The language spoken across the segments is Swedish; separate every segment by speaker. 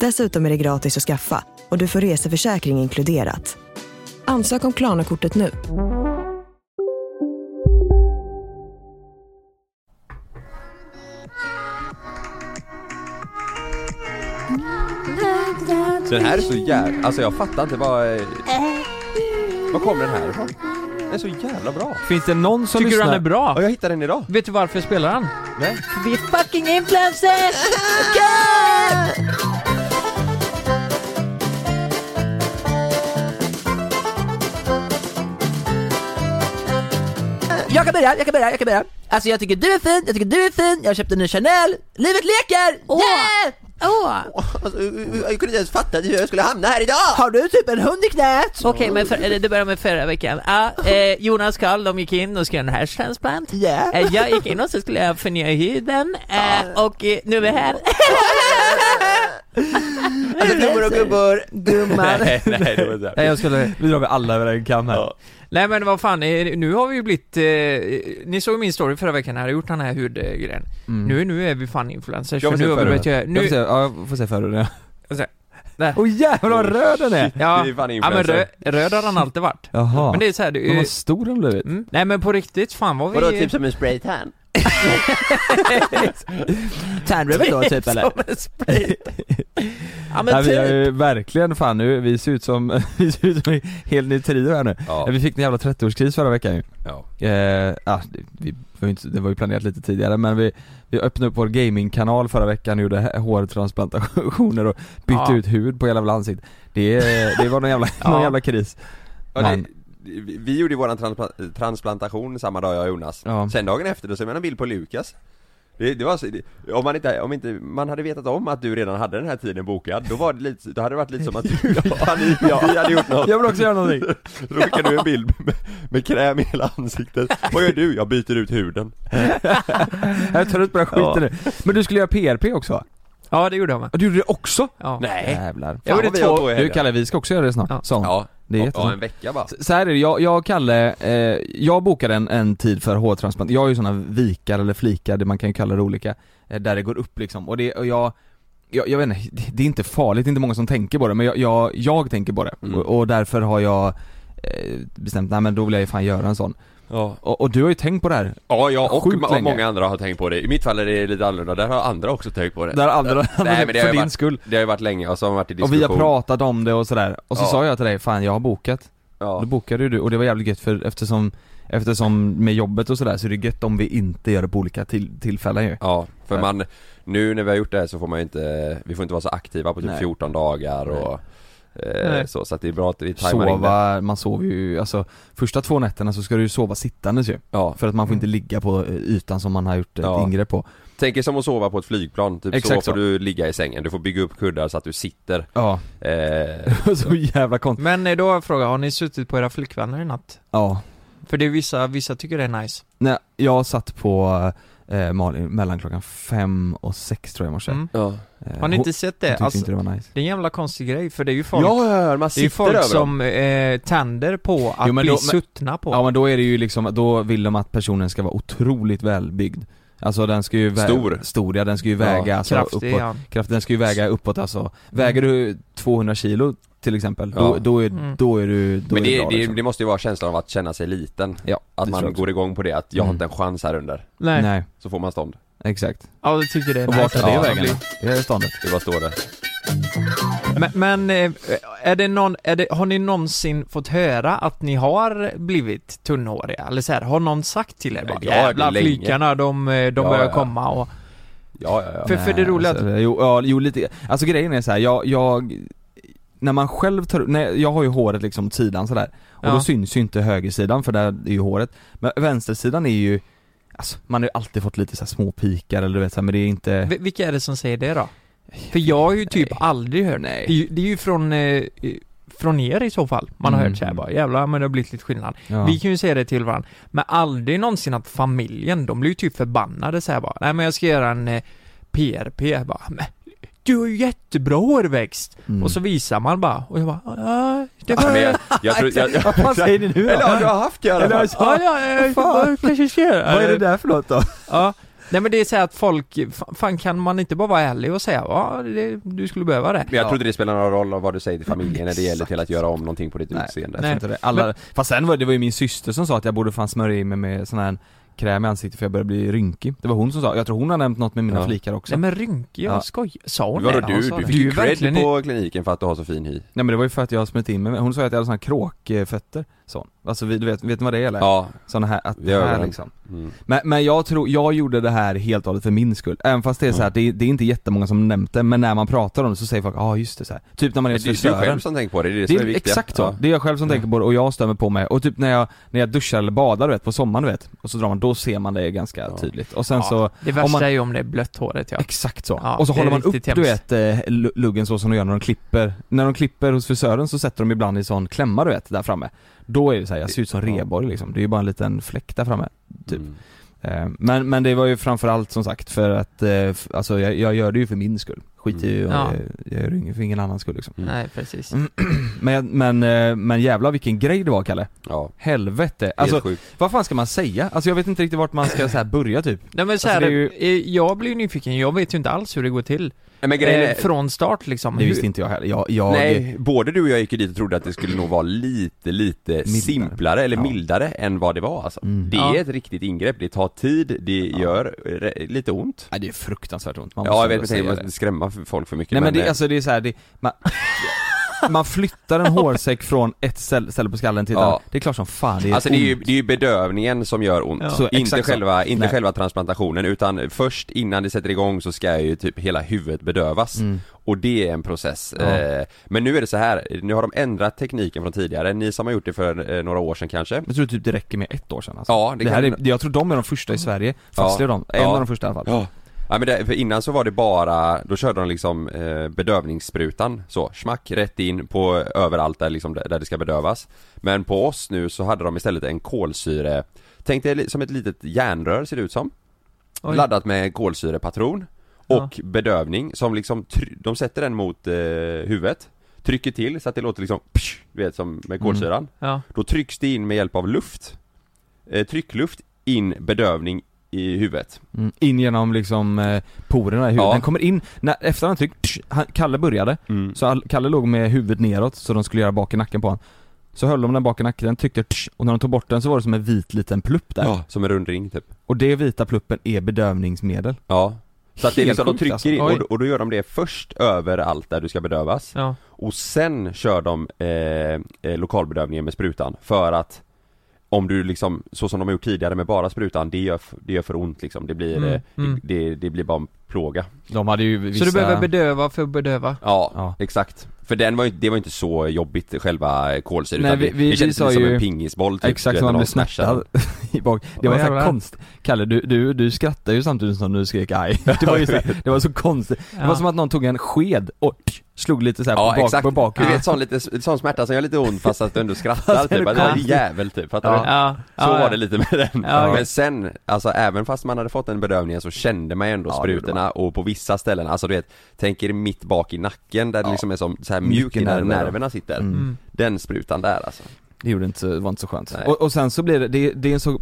Speaker 1: Dessutom är det gratis att skaffa och du får reseförsäkring inkluderat. Ansök om Klarna-kortet nu.
Speaker 2: Så den här är så jävla, alltså jag fattar inte vad... eh, Var kommer den här ifrån? Den är så jävla bra.
Speaker 3: Finns det någon som
Speaker 4: Tycker du
Speaker 3: lyssnar?
Speaker 4: han är bra?
Speaker 2: Ja, jag hittade den idag.
Speaker 4: Vet du varför jag spelar han?
Speaker 2: Nej.
Speaker 5: Vi är fucking influencers!
Speaker 6: Jag kan börja, jag kan börja, jag kan börja. Alltså jag tycker du är fin, jag tycker du är fin, jag köpte en ny Chanel, livet leker!
Speaker 5: Åh.
Speaker 6: Yeah!
Speaker 5: Åh!
Speaker 2: Alltså, jag kunde inte ens fatta hur jag skulle hamna här idag!
Speaker 6: Har du typ en hund i knät?
Speaker 4: Så-
Speaker 6: Och,
Speaker 4: Okej, men för, eller det började med förra veckan. Ja, eh, Jonas Karl, de gick in och skrev en hashtransplant.
Speaker 6: yeah.
Speaker 4: Eh, jag gick in och så skulle jag förnya huden eh, och eh, nu är vi här.
Speaker 2: Alltså gummor och gubbor.
Speaker 6: Gumman.
Speaker 2: Nej, nej det var inte
Speaker 4: Nej, jag skulle...
Speaker 3: Vi drar väl alla över en kam här.
Speaker 2: Ja.
Speaker 4: Nej men vad fan, eh, nu har vi ju blivit... Eh, ni såg min story förra veckan när jag hade gjort den här hudgrejen.
Speaker 3: Mm.
Speaker 4: Nu, nu är vi fan influencers.
Speaker 3: Jag får
Speaker 4: för nu
Speaker 3: se
Speaker 4: har vi
Speaker 3: förra.
Speaker 4: börjat göra...
Speaker 3: Jag får se,
Speaker 4: Nu,
Speaker 3: ja, jag får se förr det.
Speaker 4: där.
Speaker 3: Åh jävlar vad röd den är!
Speaker 4: Ja,
Speaker 2: Det är fan
Speaker 4: ja men
Speaker 2: influencer.
Speaker 4: röd, röd har han alltid varit.
Speaker 3: Jaha.
Speaker 4: Men det är så här, det,
Speaker 3: Men
Speaker 4: är-
Speaker 3: vad stor den blivit.
Speaker 4: mm. Nej men på riktigt, fan vad vi...
Speaker 2: Vadå, typ som en spraytan?
Speaker 6: Tandrubber då typ eller?
Speaker 4: ja
Speaker 3: Nej,
Speaker 4: men
Speaker 3: vi har
Speaker 4: typ.
Speaker 3: ju verkligen fan nu, vi ser ut som, vi ser ut som en helt ny trio här nu.
Speaker 2: Ja.
Speaker 3: Vi fick en jävla 30-årskris förra veckan ju.
Speaker 2: Ja.
Speaker 3: Eh, ah, det- vi var ju inte, det var ju planerat lite tidigare men vi, vi öppnade upp vår gamingkanal förra veckan och gjorde hä- hårtransplantationer och bytte
Speaker 4: Ja.
Speaker 3: ut hud på hela jävla ansiktet. Det, det var någon jävla, någon
Speaker 4: Ja.
Speaker 3: jävla kris.
Speaker 2: Ja, det,
Speaker 3: Men-
Speaker 2: vi- vi gjorde ju våran transpla- transplantation samma dag jag och Jonas.
Speaker 3: Ja.
Speaker 2: Sen dagen efter då såg man en bild på Lukas. Det, det var så, det, om man inte, om inte man hade vetat om att du redan hade den här tiden bokad, då var det lite, då hade det varit lite som att du panik, vi hade gjort något.
Speaker 3: Jag vill också göra någonting.
Speaker 2: Då skickade du en bild med, med kräm i hela ansiktet. Vad gör du? Jag byter ut huden.
Speaker 3: Jag är trött på den här skiten
Speaker 2: Ja.
Speaker 3: nu. Men du skulle göra PRP också va?
Speaker 4: Ja det gjorde jag med.
Speaker 3: Ja, Du gjorde det också?
Speaker 4: Ja.
Speaker 3: Jävlar.
Speaker 4: Jag
Speaker 2: Fan,
Speaker 4: gjorde
Speaker 2: vad vi har på
Speaker 4: två...
Speaker 2: i
Speaker 3: Du
Speaker 2: helgen.
Speaker 3: Kalle, vi ska också göra det snart.
Speaker 4: Ja.
Speaker 3: Sån.
Speaker 2: Ja,
Speaker 3: Det är
Speaker 2: och-
Speaker 3: jättesant.
Speaker 2: ja, en vecka bara.
Speaker 3: Så- Så här är det, jag, jag och Kalle, eh, jag bokade en, en tid för hårtransplant, jag har ju sådana vikar eller flikar, det man kan ju kalla det olika, eh, där det går upp liksom, och det, och jag jag, jag vet inte, det- det är inte farligt, det är inte många som tänker på det, men jag, jag, jag tänker på det.
Speaker 2: Mm.
Speaker 3: Och, och därför har jag eh, bestämt, nej men då vill jag ju fan göra en sån.
Speaker 2: Ja.
Speaker 3: Och, och du har ju tänkt på det här.
Speaker 2: Ja, jag och,
Speaker 3: Sjukt
Speaker 2: ma- och
Speaker 3: länge.
Speaker 2: många andra har tänkt på det. I mitt fall är det lite annorlunda, där har andra också tänkt på det.
Speaker 3: Där andra,
Speaker 2: Nej, men det har
Speaker 3: för
Speaker 2: ju
Speaker 3: din
Speaker 2: varit-
Speaker 3: skull.
Speaker 2: Det har ju varit länge och så har man varit i
Speaker 3: Och
Speaker 2: diskussion.
Speaker 3: vi har pratat om det och sådär. Och så
Speaker 2: Ja.
Speaker 3: sa jag till dig, fan jag har bokat. Då
Speaker 2: Ja.
Speaker 3: bokade ju du och det var jävligt gött för eftersom, eftersom med jobbet och sådär så är det gött om vi inte gör det på olika till, tillfällen ju.
Speaker 2: Ja, för man, nu när vi har gjort det här så får man ju inte, vi får inte vara så aktiva på typ
Speaker 3: Nej.
Speaker 2: 14 dagar och eh,
Speaker 4: Nej.
Speaker 2: så, så att det är bra att vi tajmar in det.
Speaker 3: Sova, man sover ju, alltså första två nätterna så ska du ju sova sittandes ju.
Speaker 2: Ja,
Speaker 3: För att man får
Speaker 4: Mm.
Speaker 3: inte ligga på eh, ytan som man har gjort ett
Speaker 2: Ja.
Speaker 3: ingrepp på.
Speaker 2: tänk er som att sova på ett flygplan, typ
Speaker 3: Exakt
Speaker 2: så får
Speaker 3: så.
Speaker 2: du ligga i sängen, du får bygga upp kuddar så att du sitter
Speaker 3: Ja,
Speaker 2: eh,
Speaker 3: så jävla konstigt.
Speaker 4: Men eh, då har jag frågat, har ni suttit på era flickvänner i natt?
Speaker 3: Ja.
Speaker 4: För det är vissa, vissa tycker det är nice.
Speaker 3: Nej, jag satt på eh, Malin mellan klockan fem och sex tror jag i morse.
Speaker 4: Mm.
Speaker 2: Ja,
Speaker 3: Eh,
Speaker 4: Har ni
Speaker 3: hon-
Speaker 4: inte sett
Speaker 3: hon
Speaker 4: det?
Speaker 3: tyckte
Speaker 4: Alltså,
Speaker 3: inte det var nice.
Speaker 4: det är en jävla konstig grej, för det är ju folk,
Speaker 2: ja, ja, man
Speaker 4: det är ju
Speaker 2: sitter över
Speaker 4: folk
Speaker 2: som...
Speaker 4: som eh, tänder på att
Speaker 3: Jo, men
Speaker 4: bli
Speaker 3: då- men-
Speaker 4: suttna på.
Speaker 3: Ja men då är det ju liksom, då vill de att personen ska vara otroligt välbyggd. Alltså den ska ju vä-
Speaker 2: Stor.
Speaker 3: Stor ja, den ska ju väga
Speaker 2: Ja,
Speaker 3: alltså,
Speaker 4: Kraftig
Speaker 3: uppåt.
Speaker 4: ja. Mm.
Speaker 3: Kraft, den ska ju väga uppåt alltså. Väger du 200 kilo till exempel, då,
Speaker 2: Ja.
Speaker 3: då, är,
Speaker 4: Mm.
Speaker 3: då är du, då
Speaker 2: Men
Speaker 3: är du
Speaker 2: det,
Speaker 3: bra,
Speaker 2: det,
Speaker 3: liksom.
Speaker 2: det måste ju vara känslan av att känna sig liten,
Speaker 3: Ja,
Speaker 2: att
Speaker 3: det tror
Speaker 2: man
Speaker 3: jag också.
Speaker 2: går igång på det, att jag har
Speaker 3: Mm.
Speaker 2: inte en chans här under,
Speaker 4: Nej.
Speaker 3: Nej,
Speaker 2: så får man stånd.
Speaker 3: exakt.
Speaker 4: Ja, jag tycker det är
Speaker 3: Och
Speaker 4: nice.
Speaker 3: vart tar
Speaker 4: Ja,
Speaker 3: det
Speaker 4: man
Speaker 3: vägen?
Speaker 4: blir-
Speaker 3: Det är ståndet.
Speaker 2: Det bara står det.
Speaker 4: Men, men eh, är det någon, är det, har ni någonsin fått höra att ni har blivit tunnhåriga? Eller så här, har någon sagt till er bara,
Speaker 2: Ja, det är
Speaker 4: jävla
Speaker 2: länge."
Speaker 4: flygarna, de, eh, de
Speaker 2: Ja,
Speaker 4: börjar
Speaker 2: ja.
Speaker 4: komma och
Speaker 2: Ja, ja, ja.
Speaker 4: För, för det
Speaker 3: Nej,
Speaker 4: roliga
Speaker 3: alltså, jo, ja, jo lite, alltså grejen är så här, jag, jag när man själv tar nej, jag har ju håret liksom sidan sådär, och
Speaker 4: Ja.
Speaker 3: då syns ju inte högersidan för där är ju håret, men vänstersidan är ju, alltså man har ju alltid fått lite så här små pikar eller du vet så här, men det är inte
Speaker 4: V- vilka är det som säger det då? För jag har ju typ
Speaker 3: Nej.
Speaker 4: aldrig hört
Speaker 3: Nej.
Speaker 4: det. är ju- Det är ju från, eh, från er i så fall. Man har
Speaker 3: Mm.
Speaker 4: hört såhär bara, jävlar men det har blivit lite skillnad.
Speaker 3: ja.
Speaker 4: Vi kan ju säga det till varandra, men aldrig någonsin att familjen, de blir ju typ förbannade såhär bara, nej men jag ska göra en eh, PRP, Jag bara, men du har ju jättebra hårväxt!
Speaker 3: Mm.
Speaker 4: Och så visar man bara, och jag bara, ja, det
Speaker 2: Men
Speaker 4: var...
Speaker 2: jag, jag tror, jag, jag,
Speaker 3: Vad fan säger ni nu då?
Speaker 2: Eller ja, du har haft det i alla fall.
Speaker 4: Ja, ja, ja, jag kanske ska göra
Speaker 3: Vad är det där för något då?
Speaker 4: Ja, nej men det är så här att folk, fa- fan kan man inte bara vara ärlig och säga ja, det, du skulle behöva det?
Speaker 2: Men jag tror inte det spelar någon roll vad du säger till familjen när det gäller till att göra om någonting på ditt
Speaker 3: Nej.
Speaker 2: utseende.
Speaker 3: Jag tror
Speaker 4: Nej.
Speaker 3: inte det. Alla, Fast sen var det, det var ju min syster som sa att jag borde fan smörja in mig med sån här kräm i ansiktet för jag började bli rynkig. Det var hon som sa, jag tror hon har nämnt något med mina
Speaker 2: Ja.
Speaker 3: flikar också.
Speaker 4: Nej men rynkig, jag
Speaker 3: Ja.
Speaker 4: skojar. Sa hon
Speaker 2: Vadå
Speaker 4: det?
Speaker 2: du?
Speaker 4: Hon sa
Speaker 2: Du
Speaker 4: det.
Speaker 2: fick
Speaker 4: Du
Speaker 2: ju
Speaker 4: är verkligen
Speaker 2: cred på kliniken för att du har så fin hy.
Speaker 3: Nej men det var ju för att jag har smitt in mig, hon sa ju att jag hade såna här kråkfötter, så. Alltså vi, du vet, vet ni vad det är eller?
Speaker 2: Ja.
Speaker 3: Såna här, att
Speaker 2: Vi har
Speaker 3: här
Speaker 2: överallt.
Speaker 3: liksom.
Speaker 2: Mm.
Speaker 3: men, men jag tror, jag gjorde det här helt och hållet för min skull, även fast det är så här, det, det är inte jättemånga som nämnt det, men när man pratar om det så säger folk ja ah, just det så här. Typ när man är
Speaker 2: Men
Speaker 3: hos
Speaker 2: det är ju du
Speaker 3: frisören
Speaker 2: själv som tänker på det, det är det,
Speaker 3: det
Speaker 2: som är Mm.
Speaker 3: är
Speaker 2: viktigt.
Speaker 3: exakt så, det är jag själv som tänker på det och jag stämmer på mig och typ när jag, när jag duschar eller badar du vet, på sommaren du vet, och så drar man, då ser man det ganska
Speaker 2: Ja.
Speaker 3: tydligt och sen
Speaker 4: Ja,
Speaker 3: så
Speaker 4: Det
Speaker 3: om
Speaker 4: värsta
Speaker 3: man-
Speaker 4: är ju om det är blött håret ja.
Speaker 3: Exakt så.
Speaker 4: Ja,
Speaker 3: och så
Speaker 4: det är
Speaker 3: håller man upp
Speaker 4: riktigt
Speaker 3: du
Speaker 4: hemskt.
Speaker 3: vet eh, lu- luggen så som de gör när de klipper. När de klipper hos frisören så sätter de ibland i sån klämma du vet, där framme. Då är det så här, jag ser ut som
Speaker 2: Ja.
Speaker 3: reborg liksom. Det är ju bara en liten fläck där framme. Typ.
Speaker 2: Mm.
Speaker 3: Eh, Men, men det var ju framförallt som sagt för att, eh, f- alltså jag, jag gör det ju för min skull. Skit i
Speaker 4: Mm.
Speaker 3: mm.
Speaker 4: Ja.
Speaker 3: jag gör det ju för ingen annans skull liksom.
Speaker 2: Mm.
Speaker 4: Nej precis.
Speaker 3: Mm. Men, jag- men, eh, men jävlar vilken grej det var Kalle.
Speaker 2: Ja,
Speaker 3: Helvete.
Speaker 2: helt
Speaker 3: Alltså
Speaker 2: sjukt.
Speaker 3: vad fan ska man säga? Alltså jag vet inte riktigt vart man ska så här börja typ.
Speaker 2: Mm.
Speaker 4: Nej men så här,
Speaker 3: Alltså, det är
Speaker 4: eh, jag blir ju nyfiken, jag vet ju inte alls hur det går till.
Speaker 2: Nej, Men grejen
Speaker 4: Eh,
Speaker 2: är,
Speaker 4: från start liksom.
Speaker 3: Det
Speaker 4: Hur-
Speaker 3: visste inte jag heller. Jag, jag,
Speaker 2: Nej, både du och jag gick ju dit och trodde att det skulle nog vara lite, lite simplare eller
Speaker 3: Ja.
Speaker 2: mildare än vad det var alltså.
Speaker 3: Mm.
Speaker 2: Det
Speaker 4: Ja.
Speaker 2: är ett riktigt ingrepp, det tar tid, det gör eh, lite ont.
Speaker 3: Nej, det är fruktansvärt ont. Man
Speaker 2: ja, jag
Speaker 3: måste
Speaker 2: vet
Speaker 3: ändå
Speaker 2: inte, jag
Speaker 3: säga det.
Speaker 2: måste inte skrämma folk för mycket
Speaker 3: Nej men det,
Speaker 2: eh,
Speaker 3: alltså det är så här, det, man, man flyttar en hårsäck från ett ställe, ställe på skallen till ett
Speaker 2: Ja.
Speaker 3: annat. Det är klart som fan det är
Speaker 2: Alltså det är, ju,
Speaker 3: ont.
Speaker 2: det är ju bedövningen som gör ont,
Speaker 3: Ja. Så,
Speaker 2: inte,
Speaker 3: exakt så.
Speaker 2: själva, inte
Speaker 3: Nej.
Speaker 2: själva transplantationen utan först innan det sätter igång så ska ju typ hela huvudet bedövas och det är en process.
Speaker 3: Mm. Ja.
Speaker 2: Eh, Men nu är det så här, nu har de ändrat tekniken från tidigare, ni som har gjort det för eh, några år sedan kanske?
Speaker 3: Jag tror typ det räcker med ett år sedan alltså.
Speaker 2: Ja, det
Speaker 3: det, här
Speaker 2: kan- Mm.
Speaker 3: är, jag tror de är de första i Sverige, fast
Speaker 2: Ja.
Speaker 3: ja. de, en
Speaker 2: Ja.
Speaker 3: av de första i alla fall.
Speaker 2: Ja. Ja, men det, för innan så var det bara, då körde de liksom eh, bedövningssprutan så, smack rätt in på överallt där, liksom, där där det ska bedövas Men på oss nu så hade de istället en kolsyre, tänk dig li- som ett litet järnrör ser det ut som
Speaker 4: Oj.
Speaker 2: Laddat med kolsyrepatron och bedövning som liksom, try- de sätter den mot eh, huvudet Trycker till så att det låter liksom, psh, du vet som med kolsyran
Speaker 4: Mm. Ja.
Speaker 2: Då trycks det in med hjälp av luft eh, Tryckluft in bedövning i huvudet
Speaker 3: Mm. In genom liksom eh, porerna i huvudet.
Speaker 2: Ja. Mm.
Speaker 3: Den kommer in, när, efter han tryckt, tsch, han, Kalle började,
Speaker 4: Mm.
Speaker 3: så all, Kalle låg med huvudet neråt så de skulle göra bak i nacken på honom. Så höll de den bak i nacken, tryckte tsch, och när de tog bort den så var det som en vit liten plupp där.
Speaker 2: Ja, som en rund ring typ
Speaker 3: Och det vita pluppen är bedövningsmedel.
Speaker 2: Ja Så att det är
Speaker 3: Helt
Speaker 2: liksom, de
Speaker 3: sjukt,
Speaker 2: trycker
Speaker 3: alltså.
Speaker 2: in, och,
Speaker 4: Oj.
Speaker 2: då- och då gör de det först överallt där du ska bedövas
Speaker 4: Ja.
Speaker 2: Och sen kör de eh, eh, lokalbedövningen med sprutan för att Om du liksom, så som de har gjort tidigare med bara sprutan, det gör, f- det gör för ont liksom, det blir,
Speaker 4: Mm,
Speaker 2: eh,
Speaker 4: mm.
Speaker 2: Det, det, det blir bara en plåga
Speaker 3: De hade ju vissa...
Speaker 4: Så du behöver bedöva för att bedöva?
Speaker 2: Ja,
Speaker 3: Ja.
Speaker 2: exakt För den var ju, det var ju inte så jobbigt själva kolsyran
Speaker 3: Nej,
Speaker 2: utan
Speaker 3: vi-
Speaker 2: det,
Speaker 3: vi-
Speaker 2: det kändes
Speaker 3: vi sa
Speaker 2: lite som
Speaker 3: ju-
Speaker 2: en pingisboll typ, du
Speaker 3: Exakt
Speaker 2: vet,
Speaker 3: som
Speaker 2: när
Speaker 3: man
Speaker 2: de
Speaker 3: blev
Speaker 2: smashar den.
Speaker 3: snärtad i bak. Det
Speaker 4: Ja,
Speaker 3: var så här
Speaker 4: jävlar.
Speaker 3: konst... Kalle, du, du, du skrattar ju samtidigt som du skrek aj. Det var ju så här, det var så konstigt. Det var som att någon tog en sked och tsch, slog lite så här
Speaker 2: Ja
Speaker 3: på, bak,
Speaker 2: exakt,
Speaker 3: på bak.
Speaker 2: du vet sån, lite, sån smärta som gör lite ont fast att du ändå skrattar typ, att det var jävel typ, fattar du?
Speaker 4: ja.
Speaker 2: Så var det lite med den.
Speaker 4: Ja, okej.
Speaker 2: Men sen, alltså även fast man hade fått den bedövningen så kände man ju ändå sprutorna och på vissa ställen, alltså du vet, tänk er mitt bak i nacken där det liksom är som så här mjukt
Speaker 3: Mycket
Speaker 2: där
Speaker 3: nerver, ja.
Speaker 2: nerverna sitter.
Speaker 4: Mm.
Speaker 2: Den sprutan där alltså.
Speaker 3: Det gjorde inte, så- det var inte så skönt.
Speaker 2: Nej.
Speaker 3: Och, och sen så blir det, det, det är en så...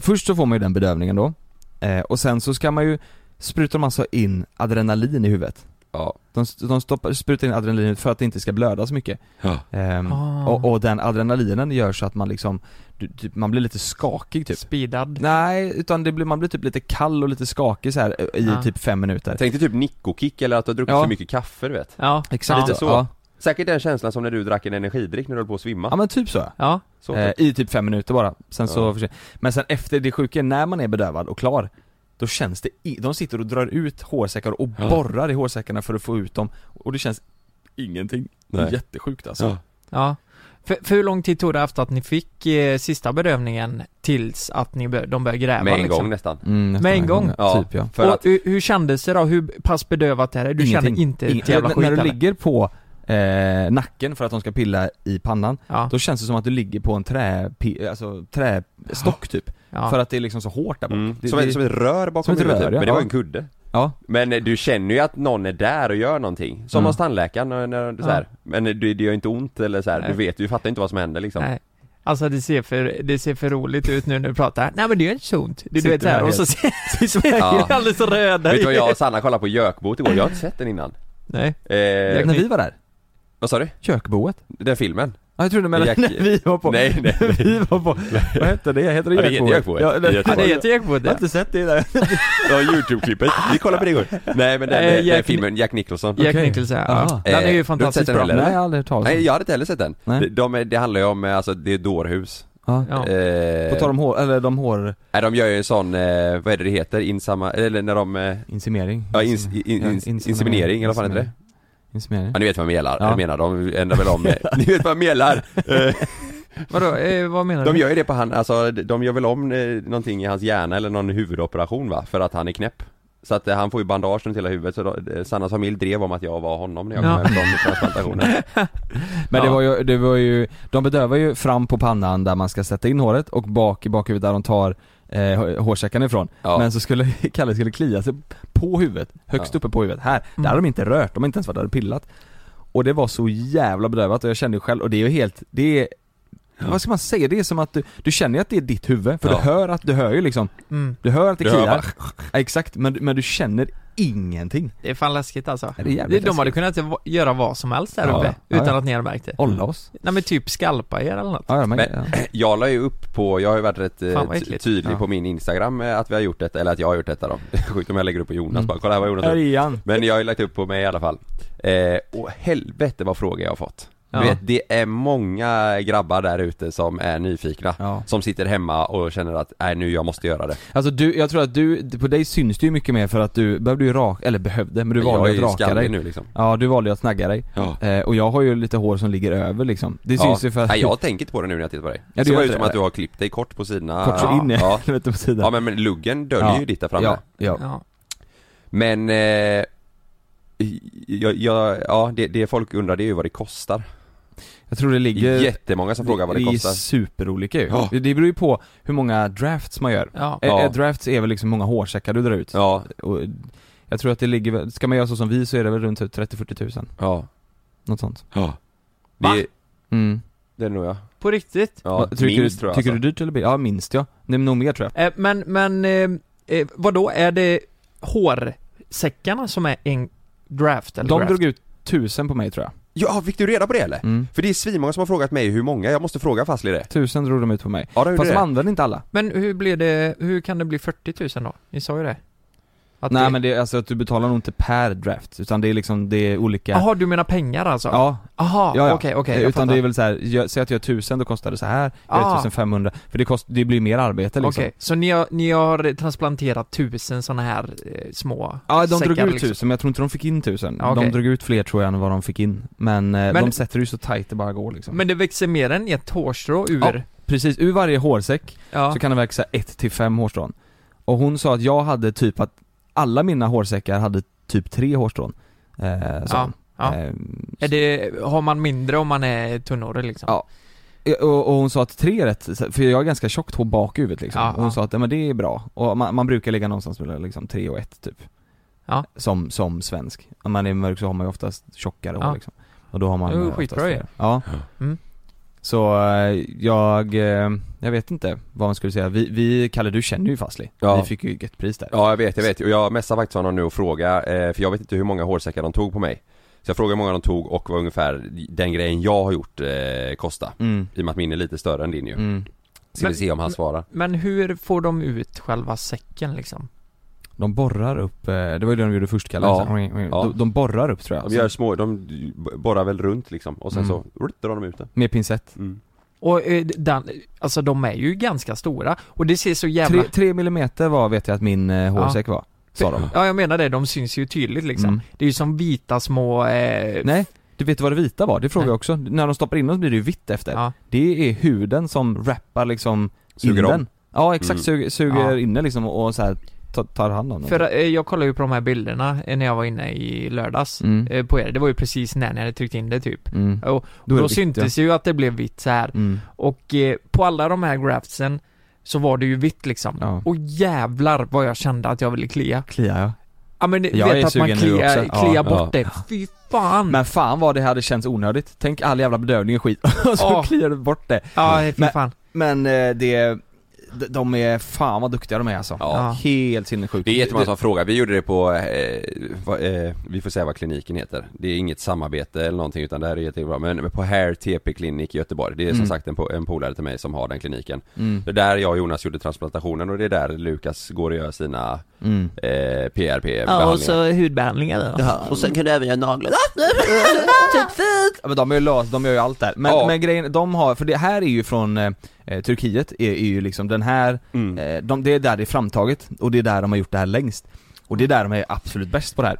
Speaker 3: Först så får man ju den bedövningen då. Eh, och sen så ska man ju, sprutar man så in adrenalin i huvudet.
Speaker 2: Ja.
Speaker 3: De, de stoppar, sprutar in adrenalin för att det inte ska blöda så mycket.
Speaker 2: Ja.
Speaker 3: Ehm,
Speaker 4: Ah.
Speaker 3: och, och den adrenalinen gör så att man liksom, du, typ, man blir lite skakig typ.
Speaker 4: Speedad.
Speaker 3: Nej, utan det blir, man blir typ lite kall och lite skakig så här i
Speaker 4: Ja.
Speaker 3: typ fem minuter.
Speaker 2: Tänk dig typ nickokick eller att du har druckit
Speaker 3: Ja.
Speaker 2: för mycket kaffe du vet.
Speaker 4: Ja.
Speaker 3: Exakt
Speaker 4: Ja.
Speaker 2: så.
Speaker 3: Ja.
Speaker 2: Säkert den känslan som när du drack en energidryck när du höll på att svimma.
Speaker 3: ja men typ så.
Speaker 4: Ja.
Speaker 2: Så,
Speaker 3: Eh, I typ fem minuter bara, sen
Speaker 2: Ja.
Speaker 3: så försvinner Men sen efter, det sjuka är när man är bedövad och klar Då känns det, i, de sitter och drar ut hårsäckar och
Speaker 2: Ja.
Speaker 3: borrar i hårsäckarna för att få ut dem Och det känns ingenting,
Speaker 2: Nej.
Speaker 3: jättesjukt alltså
Speaker 2: Ja.
Speaker 4: Ja. För, för hur lång tid tog det efter att ni fick eh, sista bedövningen tills att ni bör, de började gräva
Speaker 2: Med en
Speaker 4: liksom?
Speaker 2: gång nästan
Speaker 3: Mm, nästan
Speaker 4: Med en
Speaker 3: en
Speaker 4: gång?
Speaker 3: gång,
Speaker 2: Ja.
Speaker 3: typ ja
Speaker 2: För
Speaker 4: och
Speaker 2: att,
Speaker 4: hur, hur kändes det då? Hur pass bedövat är det? Du känner
Speaker 3: Ingenting.
Speaker 4: inte
Speaker 3: Ingen-
Speaker 4: ett jävla skit
Speaker 3: När du
Speaker 4: eller?
Speaker 3: ligger på eh, nacken för att de ska pilla i pannan
Speaker 4: Ja,
Speaker 3: Då känns det som att du ligger på en trä, pi- alltså trästock typ
Speaker 4: ja.
Speaker 3: För att det är liksom så hårt där bak
Speaker 2: mm,
Speaker 3: det,
Speaker 2: som, ett,
Speaker 3: det,
Speaker 2: som ett rör
Speaker 3: som
Speaker 2: bakom
Speaker 3: ett
Speaker 2: huvudet
Speaker 3: rör,
Speaker 2: typ.
Speaker 3: ja.
Speaker 2: men det var
Speaker 3: Ja.
Speaker 2: en kudde
Speaker 3: Ja,
Speaker 2: Men eh, du känner ju att någon är där och gör någonting Som
Speaker 3: Mm.
Speaker 2: hos tandläkaren när, när det är så här. Men eh, det, det gör inte ont eller så här.
Speaker 4: Nej.
Speaker 2: du vet, du fattar inte vad som händer liksom
Speaker 4: Nej. Alltså det ser, för, det ser för roligt ut nu när du pratar. Nej men det är inte så ont. Du, du
Speaker 3: Sitter
Speaker 4: vet såhär
Speaker 3: där
Speaker 4: och så ser ser
Speaker 2: Ja.
Speaker 4: jag alldeles röda
Speaker 2: Vet du vad
Speaker 4: i-
Speaker 2: jag och Sanna kollade på Jökboet igår, jag har inte sett den innan
Speaker 4: Nej.
Speaker 2: eh,
Speaker 3: när vi var där,
Speaker 2: Vad sa du?
Speaker 3: kökboet
Speaker 2: Den filmen?
Speaker 3: Ja jag trodde du menade
Speaker 2: Jack-
Speaker 3: när vi var på
Speaker 2: Nej, nej.
Speaker 3: Vi var på, vad hette det? Heter det
Speaker 2: Ja, det heter
Speaker 3: Jökboet?
Speaker 2: Jökboet.
Speaker 3: Ja,
Speaker 2: Det heter
Speaker 4: Ja, det
Speaker 2: Jökboet.
Speaker 4: heter ekbåt
Speaker 3: Jag har
Speaker 4: det.
Speaker 3: inte sett det där
Speaker 2: Ja, Youtube-klippet, vi kollade på det igår Nej men den,
Speaker 4: Eh,
Speaker 2: eh, den
Speaker 4: Jack-
Speaker 2: filmen, Jack Nicholson
Speaker 4: Jack
Speaker 3: Okej.
Speaker 4: Nicholson, ja.
Speaker 3: Aha.
Speaker 4: Den är
Speaker 2: Eh, du har
Speaker 4: ju
Speaker 2: inte sett
Speaker 4: fantastiskt
Speaker 2: den
Speaker 4: bra.
Speaker 2: heller?
Speaker 3: Nej jag har aldrig hört talas om
Speaker 2: Nej
Speaker 3: det.
Speaker 2: jag hade inte heller sett den.
Speaker 3: Nej.
Speaker 2: De, de, är- det handlar ju om, eh, alltså det är dårhus.
Speaker 3: ja.
Speaker 4: Ja.
Speaker 2: Eh,
Speaker 3: På tal om hår, eller de
Speaker 2: nej, de gör ju en sån, eh, vad är det det heter, insamma, eller när de, eh,
Speaker 3: hårinseminering
Speaker 2: ja, ins, in, in,
Speaker 3: Ja,
Speaker 2: inseminering eller vad fan heter det?
Speaker 3: Inseminering
Speaker 2: Ja ni vet vad jag menar,
Speaker 3: Ja.
Speaker 2: jag menar de ändrar väl om, eh, ni vet vad jag menar! Eh,
Speaker 4: Vadå, eh, vad menar
Speaker 2: De
Speaker 4: du?
Speaker 2: gör ju det på han, alltså de gör väl om eh, någonting i hans hjärna eller någon huvudoperation va, för att han är knäpp. Så att eh, han får ju bandage runt hela huvudet så då, eh, Sannas familj drev om att jag var honom när jag kom
Speaker 4: Ja.
Speaker 2: hem från transplantationen.
Speaker 3: Men
Speaker 4: Ja.
Speaker 3: det var ju, det var ju, de bedövar ju fram på pannan där man ska sätta in håret och bak i bakhuvudet där de tar eh, hå- hårsäckarna ifrån.
Speaker 2: Ja.
Speaker 3: Men så skulle Kalle skulle klia sig på huvudet, högst
Speaker 2: Ja.
Speaker 3: uppe på huvudet, här. Där har de inte rört, de har inte ens varit där och pillat. Och det var så jävla bedövat och jag kände ju själv, och det är ju helt, det är Vad ska man säga? Det är som att du, du känner ju att det är ditt huvud, för
Speaker 2: Ja.
Speaker 3: du hör att, du hör ju liksom,
Speaker 4: Mm.
Speaker 3: du hör att det
Speaker 2: Du hör
Speaker 3: kliar. Ja, exakt, men, men du känner ingenting.
Speaker 4: Det är fan läskigt alltså.
Speaker 3: Ja, det är
Speaker 4: De
Speaker 3: jävligt
Speaker 4: hade kunnat va- göra vad som helst där
Speaker 3: Ja,
Speaker 4: uppe,
Speaker 3: ja. Ja,
Speaker 4: utan
Speaker 3: ja.
Speaker 4: att ni hade märkt det.
Speaker 3: Olla oss.
Speaker 4: Nej men typ skalpa er eller något.
Speaker 3: Ja, ja, men,
Speaker 2: Mm. Men-
Speaker 3: ja.
Speaker 2: Jag la ju upp på, jag har ju varit rätt eh,
Speaker 4: Fan, vad
Speaker 2: ty-
Speaker 4: äckligt.
Speaker 2: tydlig
Speaker 3: Ja.
Speaker 2: på min instagram eh, att vi har gjort detta, eller att jag har gjort detta då Sjukt om jag lägger upp på Jonas
Speaker 3: Mm.
Speaker 2: bara, kolla här vad Jonas har
Speaker 3: Här
Speaker 2: gjort.
Speaker 3: är han.
Speaker 2: Men jag har ju lagt upp på mig i alla fall eh, Och helvete vad frågor jag har fått
Speaker 3: Ja.
Speaker 2: Du vet, det är många grabbar där ute som är nyfikna
Speaker 3: Ja.
Speaker 2: Som sitter hemma och känner att, nej nu jag måste göra det
Speaker 3: Alltså du, jag tror att du, på dig syns det ju mycket mer för att du behövde ju raka, eller behövde, men du
Speaker 2: Jag
Speaker 3: valde
Speaker 2: är
Speaker 3: ju
Speaker 2: ju
Speaker 3: att raka dig
Speaker 2: skallig nu liksom
Speaker 3: Ja, du valde ju att snagga dig.
Speaker 2: Ja.
Speaker 3: Eh, och jag har ju lite hår som ligger över liksom. Det syns ju för att...
Speaker 2: Nej jag tänker inte på det nu när jag tittar på dig
Speaker 3: Ja, du
Speaker 2: Det
Speaker 3: gör
Speaker 2: ser ut
Speaker 3: inte
Speaker 2: som
Speaker 3: det.
Speaker 2: att du har klippt dig kort på sidorna
Speaker 3: Kort så
Speaker 2: ja.
Speaker 3: in i
Speaker 2: ja.
Speaker 3: helvete på sidan.
Speaker 2: ja men, men luggen döljer ju ditt där framme
Speaker 3: Ja, ja.
Speaker 4: Ja.
Speaker 2: Men, eh, jag, jag, ja det, det folk undrar det är ju vad det kostar
Speaker 3: Jag tror det ligger...
Speaker 2: Jättemånga som frågar vad det
Speaker 3: är
Speaker 2: kostar
Speaker 3: superolika ju.
Speaker 2: Ja.
Speaker 3: Det beror ju på hur många drafts man gör.
Speaker 4: Ja.
Speaker 3: Eh,
Speaker 2: Ja.
Speaker 3: eh, Drafts är väl liksom hur många hårsäckar du drar ut.
Speaker 2: Ja,
Speaker 3: Och jag tror att det ligger, väl- ska man göra så som vi så är det väl runt typ 30-40 tusen.
Speaker 2: ja,
Speaker 3: Något sånt.
Speaker 2: ja
Speaker 4: Va?
Speaker 2: Det,
Speaker 3: Mm.
Speaker 2: det är nog jag
Speaker 4: På riktigt?
Speaker 2: Ja,
Speaker 3: tycker
Speaker 2: minst
Speaker 3: du,
Speaker 2: tror jag
Speaker 3: Tycker
Speaker 2: alltså.
Speaker 3: du dyrt eller billigt? Ja, minst ja. Nej, men nog mer tror jag.
Speaker 4: Eh, men, men, eh, eh, vadå? Är det hårsäckarna som är en draft eller
Speaker 3: De
Speaker 4: draft?
Speaker 3: drog ut tusen på mig tror jag.
Speaker 2: Ja, fick du reda på det eller?
Speaker 3: Mm.
Speaker 2: För det är svinmånga som har frågat mig hur många, jag måste fråga Fazli det
Speaker 3: Tusen drog de ut på mig.
Speaker 2: Ja, de gjorde
Speaker 3: Fast de
Speaker 2: det.
Speaker 3: använde inte alla.
Speaker 4: Men hur blir det, hur kan det bli 40 000 då? Ni sa ju det. Att
Speaker 3: Nej
Speaker 4: det...
Speaker 3: men det är alltså att du betalar nog inte per draft, utan det är liksom, det är olika
Speaker 4: Jaha, du menar pengar alltså?
Speaker 3: Ja,
Speaker 4: Aha,
Speaker 3: ja, ja.
Speaker 4: okej, okej.
Speaker 3: Eh,
Speaker 4: jag
Speaker 3: Utan
Speaker 4: fattar.
Speaker 3: det är väl så här, gör- säg att jag gör tusen, då kostar det så här, gör
Speaker 4: Ah.
Speaker 3: jag 1500, för det, kost, det blir mer arbete liksom.
Speaker 4: Okej, så ni har, ni har transplanterat tusen såna här eh, små
Speaker 3: Ja, de drog
Speaker 4: säckar
Speaker 3: ut
Speaker 4: liksom.
Speaker 3: tusen, men jag tror inte de fick in tusen.
Speaker 4: Ja, okej.
Speaker 3: De drog ut fler tror jag än vad de fick in. Men, eh,
Speaker 4: Men-
Speaker 3: de sätter ju så tight det bara går liksom.
Speaker 4: Men det växer mer än ett hårstrå ur?
Speaker 3: Ja. Precis, ur varje hårsäck
Speaker 4: Ja.
Speaker 3: så kan det växa 1 till 5 hårstrån. Och hon sa att jag hade typ att alla mina hårsäckar hade typ tre hårstrån. Eh, sa
Speaker 4: Ja,
Speaker 3: hon.
Speaker 4: ja.
Speaker 3: Eh,
Speaker 4: Är det, har man mindre om man är tunnhårig liksom?
Speaker 3: Ja. eh, Och, och hon sa att tre är rätt, för jag har ganska tjockt hår bak i huvudet liksom.
Speaker 4: Ja,
Speaker 3: och hon
Speaker 4: ja.
Speaker 3: sa att ja, men det är bra, och man, man brukar ligga någonstans mellan liksom tre och ett typ.
Speaker 4: Ja.
Speaker 3: Som, som svensk. Om man är mörk så har man ju oftast tjockare
Speaker 4: Ja.
Speaker 3: hår liksom. Och då har man
Speaker 4: Jo,
Speaker 3: eh, oftast
Speaker 4: skitbra ju.
Speaker 3: det. Ja.
Speaker 4: Mm.
Speaker 3: Så eh, jag, eh, jag vet inte vad man skulle säga. Vi, vi Kalle du känner ju Fazli.
Speaker 2: Ja.
Speaker 3: Vi fick ju ett pris där.
Speaker 2: Ja jag vet, jag vet. Och jag messade faktiskt honom nu och frågade, eh, för jag vet inte hur många hårsäckar de tog på mig Så jag frågade hur många de tog och vad ungefär den grejen jag har gjort eh, kosta
Speaker 3: Mm.
Speaker 2: I och med att min är lite större än din ju
Speaker 3: Mm.
Speaker 2: Ska vi
Speaker 4: Men-
Speaker 2: se om han svarar
Speaker 4: Men hur får de ut själva säcken liksom?
Speaker 3: De borrar upp, eh, det var ju det de gjorde först Kalle.
Speaker 2: Ja.
Speaker 3: Så
Speaker 4: Mm,
Speaker 3: här,
Speaker 2: Ja.
Speaker 3: De, de borrar upp tror jag. Alltså,
Speaker 2: De gör små, de borrar väl runt liksom och sen
Speaker 3: Mm.
Speaker 2: så, rutt, drar de ut den
Speaker 3: Med pincett.
Speaker 2: mm.
Speaker 4: Och eh, den, alltså de är ju ganska stora och det ser så jävla...
Speaker 3: 3, millimeter var vet jag att min eh, hårsäck var, sa de.
Speaker 4: Ja jag menar det, de syns ju tydligt liksom.
Speaker 3: Mm.
Speaker 4: Det är ju som vita små... Eh,
Speaker 3: Nej, du vet vad det vita var? Det frågade
Speaker 4: Nej.
Speaker 3: jag också. När de stoppar in dem så blir det ju vitt efter.
Speaker 4: Ja.
Speaker 3: Det är huden som rappar liksom
Speaker 2: Suger
Speaker 3: in
Speaker 2: om.
Speaker 3: den. Ja exakt,
Speaker 2: Mm.
Speaker 3: suger, suger
Speaker 4: Ja.
Speaker 3: in den liksom och så här ta- tar hand om den.
Speaker 4: För eh, jag kollade ju på de här bilderna eh, när jag var inne i lördags
Speaker 3: Mm.
Speaker 4: eh, på er. Det var ju precis när ni hade tryckt in det typ.
Speaker 3: mm.
Speaker 4: Och
Speaker 3: Då
Speaker 4: då,
Speaker 3: är det vitt,
Speaker 4: syntes ju att det blev vitt så här.
Speaker 3: Mm.
Speaker 4: Och eh, på alla de här graftsen så var det ju vitt liksom.
Speaker 3: Ja.
Speaker 4: Och jävlar vad jag kände att jag ville klia.
Speaker 3: Kliar jag.
Speaker 4: Ja men
Speaker 3: Jag
Speaker 4: vet
Speaker 3: är
Speaker 4: att man
Speaker 3: sugen nu
Speaker 4: kliar,
Speaker 3: också. Ja,
Speaker 4: kliar
Speaker 3: ja,
Speaker 4: bort det. Fy fan!
Speaker 3: Men fan vad det hade känts onödigt. Tänk all jävla bedövning och skit och så
Speaker 4: Ja.
Speaker 3: kliar du bort det.
Speaker 4: ja, fy
Speaker 3: Men-
Speaker 4: fan.
Speaker 3: Men eh, det, d- de är, fan vad duktiga de är alltså.
Speaker 2: Ja.
Speaker 3: Helt sinnessjukt.
Speaker 2: Det är jättemånga som frågar, vi gjorde det på, eh, va, eh, vi får säga vad kliniken heter Det är inget samarbete eller någonting utan det här är jättebra Men men på Hair TP Clinic i Göteborg Det är som
Speaker 3: Mm.
Speaker 2: sagt en, po- en polare till mig som har den kliniken
Speaker 3: Mm.
Speaker 2: Det är där jag och Jonas gjorde transplantationen och det är där Lukas går och gör sina
Speaker 3: Mm.
Speaker 2: eh, PRP-behandlingar
Speaker 6: Ja, och så hudbehandlingar då. Och sen kan du även göra naglar. typ fint!
Speaker 3: Ja, men de är ju lös, de gör ju allt där. Men,
Speaker 2: Ja.
Speaker 3: men grejen, de har, för det här är ju från eh, eh, Turkiet, är, är ju liksom den här,
Speaker 2: Mm.
Speaker 3: eh, de, det är där det är framtaget och det är där de har gjort det här längst. Och det är där de är absolut bäst på det här.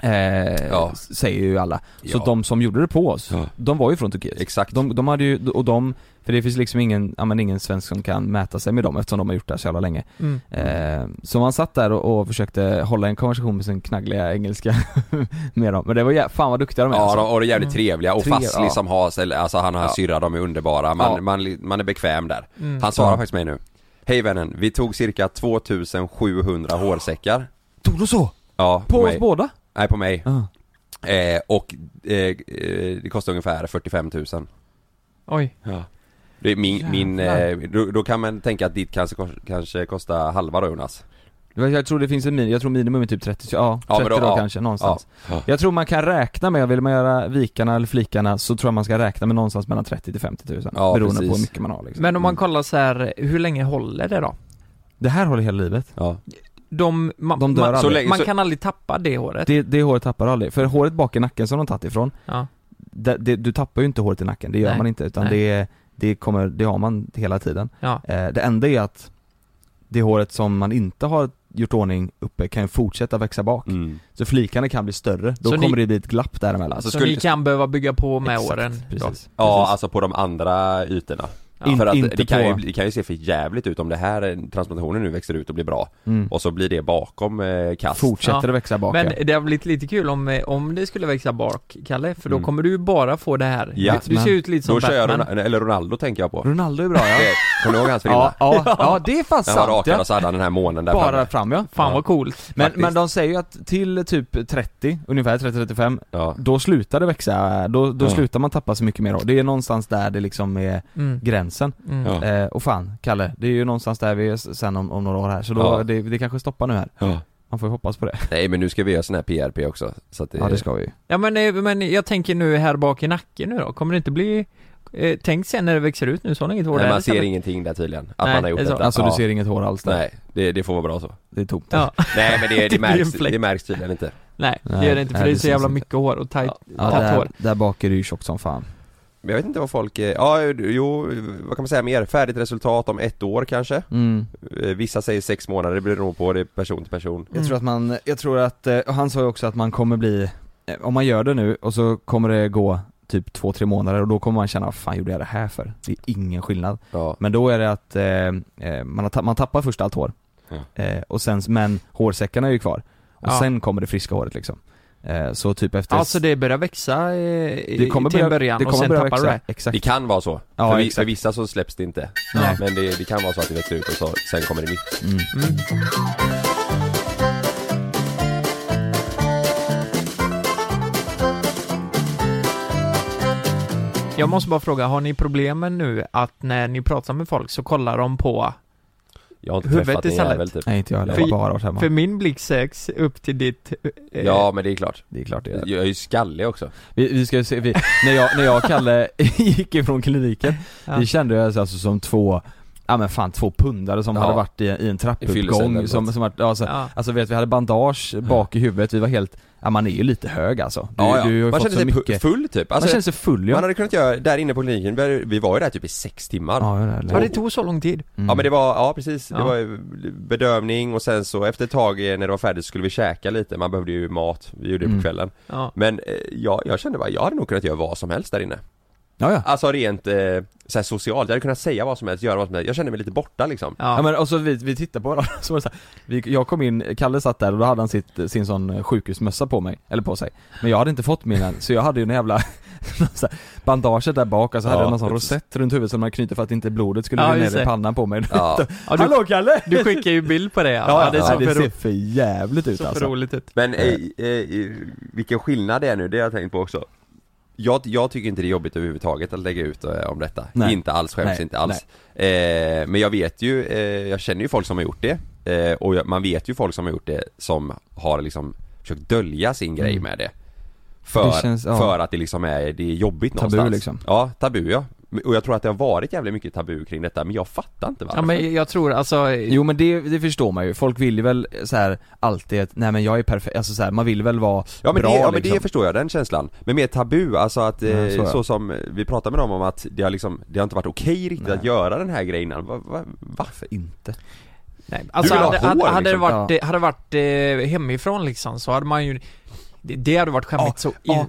Speaker 3: Eh,
Speaker 2: Ja.
Speaker 3: s- Säger ju alla. Så
Speaker 2: Ja.
Speaker 3: de som gjorde det på oss,
Speaker 2: Ja.
Speaker 3: de var ju från Turkiet.
Speaker 2: Exakt
Speaker 3: De, de hade ju, och de, för det finns liksom ingen, ja, men ingen svensk som kan mäta sig med dem eftersom de har gjort det här så jävla länge.
Speaker 4: Mm.
Speaker 3: Eh, så man satt där och, och försökte hålla en konversation med sin knaggliga engelska med dem. Men det var jä- fan vad duktiga de är
Speaker 2: Ja,
Speaker 3: alltså.
Speaker 2: de- och det är jävligt trevliga och
Speaker 3: Trev-
Speaker 2: Fazli
Speaker 3: ja.
Speaker 2: som har, ställ- alltså han och hans
Speaker 3: Ja.
Speaker 2: syrra, de är underbara, man,
Speaker 3: Ja.
Speaker 2: man, man är bekväm där
Speaker 4: Mm.
Speaker 2: Han svarar
Speaker 3: Ja.
Speaker 2: faktiskt mig nu Hej vännen, vi tog cirka 2700 hårsäckar
Speaker 3: Tog du så?
Speaker 2: Ja,
Speaker 3: På oss
Speaker 2: mig.
Speaker 3: båda? Ah.
Speaker 2: Nej, på mig
Speaker 3: Ja.
Speaker 2: Eh, och eh, eh, det kostar ungefär 45 000
Speaker 4: Oj.
Speaker 2: det är min, min
Speaker 3: Jävlar.
Speaker 2: eh, då, då kan man tänka att ditt kanske, kos- kanske kostar halva då Jonas
Speaker 3: Jag tror det finns en minimum, jag tror minimum är typ 30, ja, 30
Speaker 2: Ja, men då-
Speaker 3: dagar
Speaker 2: ja.
Speaker 3: kanske, någonstans. Jag tror man kan räkna med, vill man göra vikarna eller flikarna så tror jag man ska räkna med någonstans mellan 30 till 50 000
Speaker 2: Ja,
Speaker 3: beroende på hur
Speaker 2: precis.
Speaker 3: mycket man har liksom.
Speaker 4: Men om man
Speaker 3: Mm.
Speaker 4: kollar så här, hur länge håller det då?
Speaker 3: Det här håller hela livet.
Speaker 2: Ja,
Speaker 4: De, man,
Speaker 3: De dör
Speaker 4: man,
Speaker 3: aldrig.
Speaker 2: Så länge-
Speaker 4: man
Speaker 2: så-
Speaker 4: kan aldrig tappa det håret.
Speaker 3: Det, det håret tappar aldrig, för håret bak i nacken som de tagit ifrån,
Speaker 4: Ja.
Speaker 3: det, det, du tappar ju inte håret i nacken, det gör
Speaker 4: Nej.
Speaker 3: man inte utan
Speaker 4: Nej.
Speaker 3: det, det kommer, det har man hela tiden.
Speaker 4: Ja.
Speaker 3: Eh, det enda är att det håret som man inte har gjort ordning uppe kan ju fortsätta växa bak.
Speaker 2: mm.
Speaker 3: Så flikarna kan bli större, då
Speaker 4: Så ni-
Speaker 3: kommer det bli ett glapp däremellan.
Speaker 2: Alltså,
Speaker 4: Så
Speaker 2: skulle-
Speaker 4: ni kan behöva bygga på med
Speaker 3: Exakt,
Speaker 4: åren
Speaker 3: Precis.
Speaker 4: då?
Speaker 3: precis.
Speaker 2: ja alltså på de andra ytorna
Speaker 3: In-
Speaker 2: För att
Speaker 3: inte
Speaker 2: det, kan ju,
Speaker 3: på-
Speaker 2: bli- det kan ju se för jävligt ut om det här eh, transplantationen nu växer ut och blir bra
Speaker 3: Mm.
Speaker 2: Och så blir det bakom eh, kast
Speaker 3: Fortsätter
Speaker 4: Ja.
Speaker 3: att växa bak ja.
Speaker 4: Men det har blivit lite kul om, eh, om det skulle växa bak, Kalle, för då
Speaker 2: Mm.
Speaker 4: kommer du ju bara få det här.
Speaker 2: Ja.
Speaker 4: Du, du ser ut lite som
Speaker 2: Då kör jag
Speaker 4: Batman.
Speaker 2: Ronaldo, eller Ronaldo tänker jag på
Speaker 3: Ronaldo är bra Mm. ja.
Speaker 2: Eh, Kommer du ihåg hans
Speaker 3: Ja,
Speaker 2: frilla?
Speaker 3: ja, ja, det är fan
Speaker 2: Den var
Speaker 3: sant
Speaker 2: rakad
Speaker 3: ja.
Speaker 2: och så hade han den här månen där
Speaker 3: Bara
Speaker 2: framme.
Speaker 3: fram ja.
Speaker 4: Fan vad coolt.
Speaker 3: Men,
Speaker 2: faktiskt.
Speaker 3: men de säger ju att till typ 30, ungefär 30-35,
Speaker 2: ja.
Speaker 3: då slutar det växa, då, då
Speaker 2: Ja.
Speaker 3: slutar man tappa så mycket mer hår. Det är någonstans där det liksom är
Speaker 4: Mm.
Speaker 3: gränsen.
Speaker 4: Mm.
Speaker 2: Ja.
Speaker 3: Eh, och fan, Kalle, det är ju någonstans där vi är s- sen om, om några år här, så då,
Speaker 2: Ja.
Speaker 3: det, det kanske stoppar nu här.
Speaker 2: Ja.
Speaker 3: Man får ju hoppas på det.
Speaker 2: Nej men nu ska vi göra sån här PRP också så att det,
Speaker 3: Ja det ska vi ju.
Speaker 4: Ja men, eh, men jag tänker nu här bak i nacken nu då, kommer det inte bli eh, Tänk sen när det växer ut nu, så har ni inget hår
Speaker 2: Nej,
Speaker 4: där
Speaker 2: man ser
Speaker 4: istället.
Speaker 2: ingenting där tydligen, att
Speaker 4: Nej,
Speaker 2: man har gjort
Speaker 4: det är så.
Speaker 2: detta
Speaker 3: Alltså
Speaker 2: Ja.
Speaker 3: du ser inget hår alls där.
Speaker 2: Nej, det, det får vara bra så
Speaker 3: Det är tomt.
Speaker 4: Ja,
Speaker 2: Nej men det, det,
Speaker 4: Det blir
Speaker 2: märks,
Speaker 4: en fläck.
Speaker 2: det märks tydligen inte
Speaker 4: nej det
Speaker 3: Nej,
Speaker 4: gör det inte för
Speaker 3: nej,
Speaker 4: det är
Speaker 3: det
Speaker 4: så jävla
Speaker 3: syns
Speaker 4: mycket hår och tajt,
Speaker 3: Ja,
Speaker 4: tajt
Speaker 3: där,
Speaker 4: hår.
Speaker 3: där bak är det ju tjockt som fan.
Speaker 2: Men Jag vet inte vad folk, eh, ja jo, vad kan man säga mer? Färdigt resultat om ett år kanske?
Speaker 3: Mm.
Speaker 2: Eh, Vissa säger sex månader, det beror nog på, det är person till person
Speaker 3: Jag
Speaker 4: Mm.
Speaker 3: tror att man, jag tror att, eh, och han sa ju också att man kommer bli, eh, om man gör det nu och så kommer det gå typ två, tre månader och då kommer man känna, vad fan gjorde jag det här för? Det är ingen skillnad.
Speaker 2: Ja,
Speaker 3: Men då är det att eh, eh, man, har tapp, man tappar först allt hår,
Speaker 2: Ja.
Speaker 3: eh, och sen, men hårsäckarna är ju kvar. Och
Speaker 4: Ja.
Speaker 3: sen kommer det friska håret liksom. Eh, så typ efter
Speaker 4: Alltså det börjar växa eh,
Speaker 3: det kommer
Speaker 4: till
Speaker 3: börja,
Speaker 4: en början
Speaker 3: det
Speaker 4: och
Speaker 3: kommer
Speaker 4: sen
Speaker 3: börja
Speaker 4: tappar du
Speaker 3: växa.
Speaker 4: det.
Speaker 2: det
Speaker 3: Exakt.
Speaker 2: kan vara så,
Speaker 3: Ja,
Speaker 2: för, vi,
Speaker 3: exakt.
Speaker 2: för vissa så släpps det inte
Speaker 3: Nej.
Speaker 2: Men det, det kan vara så att det växer ut och så, sen kommer det nytt
Speaker 3: Mm.
Speaker 4: Jag måste bara fråga, har ni problemen nu att när ni pratar med folk så kollar de på
Speaker 2: Jag har inte
Speaker 4: Huvudet
Speaker 2: träffat en
Speaker 4: istället.
Speaker 2: jävel typ
Speaker 3: Nej inte jag heller, jag
Speaker 4: För-
Speaker 3: har bara varit hemma.
Speaker 4: För min blick söks upp till ditt... eh,
Speaker 2: Ja men det är klart
Speaker 3: det är klart det är.
Speaker 2: Jag är ju skallig också
Speaker 3: Vi, vi ska ju se, vi, när, jag, när jag och Kalle gick ifrån kliniken,
Speaker 4: Ja.
Speaker 3: vi kände oss alltså som två ja men fan två pundare som
Speaker 2: Ja.
Speaker 3: hade varit i, i en
Speaker 2: fyllecell eller
Speaker 3: trappuppgång
Speaker 2: något.
Speaker 3: som, som var, ja, så,
Speaker 4: Ja.
Speaker 3: Alltså vet vi hade bandage bak i huvudet, vi var helt, ja man är ju lite hög alltså. Du,
Speaker 2: Ja, ja.
Speaker 3: du har ju
Speaker 2: man
Speaker 3: fått
Speaker 2: känner
Speaker 3: så
Speaker 2: sig pu-
Speaker 3: mycket.
Speaker 2: full typ. Alltså,
Speaker 3: man känner sig full ja.
Speaker 2: man hade kunnat göra, där inne på kliniken, vi- vi var ju där typ i sex timmar.
Speaker 3: ja, ja, Mm.
Speaker 4: Ja, det tog så lång tid.
Speaker 2: Ja men det var, ja precis, det
Speaker 4: Ja.
Speaker 2: var ju bedövning och sen så efter ett tag eh, när det var färdigt skulle vi käka lite, man behövde ju mat, vi gjorde det
Speaker 3: Mm.
Speaker 2: på kvällen
Speaker 4: Ja.
Speaker 2: Men eh, jag, jag kände bara, jag hade nog kunnat göra vad som helst där inne
Speaker 3: ja, ja.
Speaker 2: Alltså rent eh, så här socialt, jag hade kunnat säga vad som helst, göra vad som helst, jag kände mig lite borta liksom
Speaker 4: Ja.
Speaker 3: Ja men och så vi, vi tittade på varandra, så var det så här, vi, jag kom in, Kalle satt där och då hade han sitt, sin sån eh, sjukhusmössa på mig, eller på sig Men jag hade inte fått min än, så jag hade ju en jävla så här, bandaget där bak och så hade
Speaker 2: Ja,
Speaker 3: jag någon sån
Speaker 2: precis.
Speaker 3: rosett runt huvudet som man knyter för att inte blodet skulle
Speaker 4: Ja,
Speaker 3: rinna
Speaker 4: just
Speaker 3: ner i
Speaker 4: det.
Speaker 3: pannan på mig
Speaker 2: Ja.
Speaker 4: Ja, du-
Speaker 3: Hallå Kalle!
Speaker 4: Du skickar ju bild på det ja.
Speaker 3: Ja, ja,
Speaker 4: det
Speaker 3: det,
Speaker 4: är så,
Speaker 3: det
Speaker 4: för,
Speaker 3: ser för jävligt ut
Speaker 4: så för
Speaker 3: alltså
Speaker 4: roligt ut.
Speaker 2: Men eh, eh, vilken skillnad det är nu, det har jag tänkt på också jag, jag tycker inte det är jobbigt överhuvudtaget att lägga ut eh, om detta,
Speaker 3: Nej.
Speaker 2: inte alls, skäms
Speaker 3: Nej,
Speaker 2: inte alls eh, Men jag vet ju, eh, jag känner ju folk som har gjort det eh, Och jag, man vet ju folk som har gjort det som har liksom försökt dölja sin grej
Speaker 3: Mm.
Speaker 2: med det För,
Speaker 3: Det känns- ja.
Speaker 2: för att det liksom är, det är jobbigt
Speaker 3: Tabu
Speaker 2: någonstans
Speaker 3: liksom.
Speaker 2: Ja, tabu ja Och jag tror att det har varit jävligt mycket tabu kring detta men jag fattar inte varför
Speaker 4: Ja, men jag tror alltså,
Speaker 3: Jo men det, det förstår man ju, folk vill ju väl eh, så här alltid att, nej men jag är perfekt, alltså så här, man vill väl vara
Speaker 2: Ja men,
Speaker 3: bra
Speaker 2: det, ja, men
Speaker 3: liksom.
Speaker 2: det förstår jag, den känslan. Men mer tabu, alltså att, eh,
Speaker 3: Ja, så
Speaker 2: så,
Speaker 3: ja.
Speaker 2: som vi pratade med dem om att det har liksom, det har inte varit okej riktigt att göra den här grejen innan. Va, va, varför?
Speaker 3: Inte
Speaker 4: nej, alltså
Speaker 2: vill ha
Speaker 4: hade,
Speaker 2: hår,
Speaker 4: hade, hade det
Speaker 2: liksom.
Speaker 4: varit, eh, hade det varit eh, hemifrån liksom så hade man ju, det, det hade varit skämmigt
Speaker 3: Ja,
Speaker 4: så in,
Speaker 3: ja.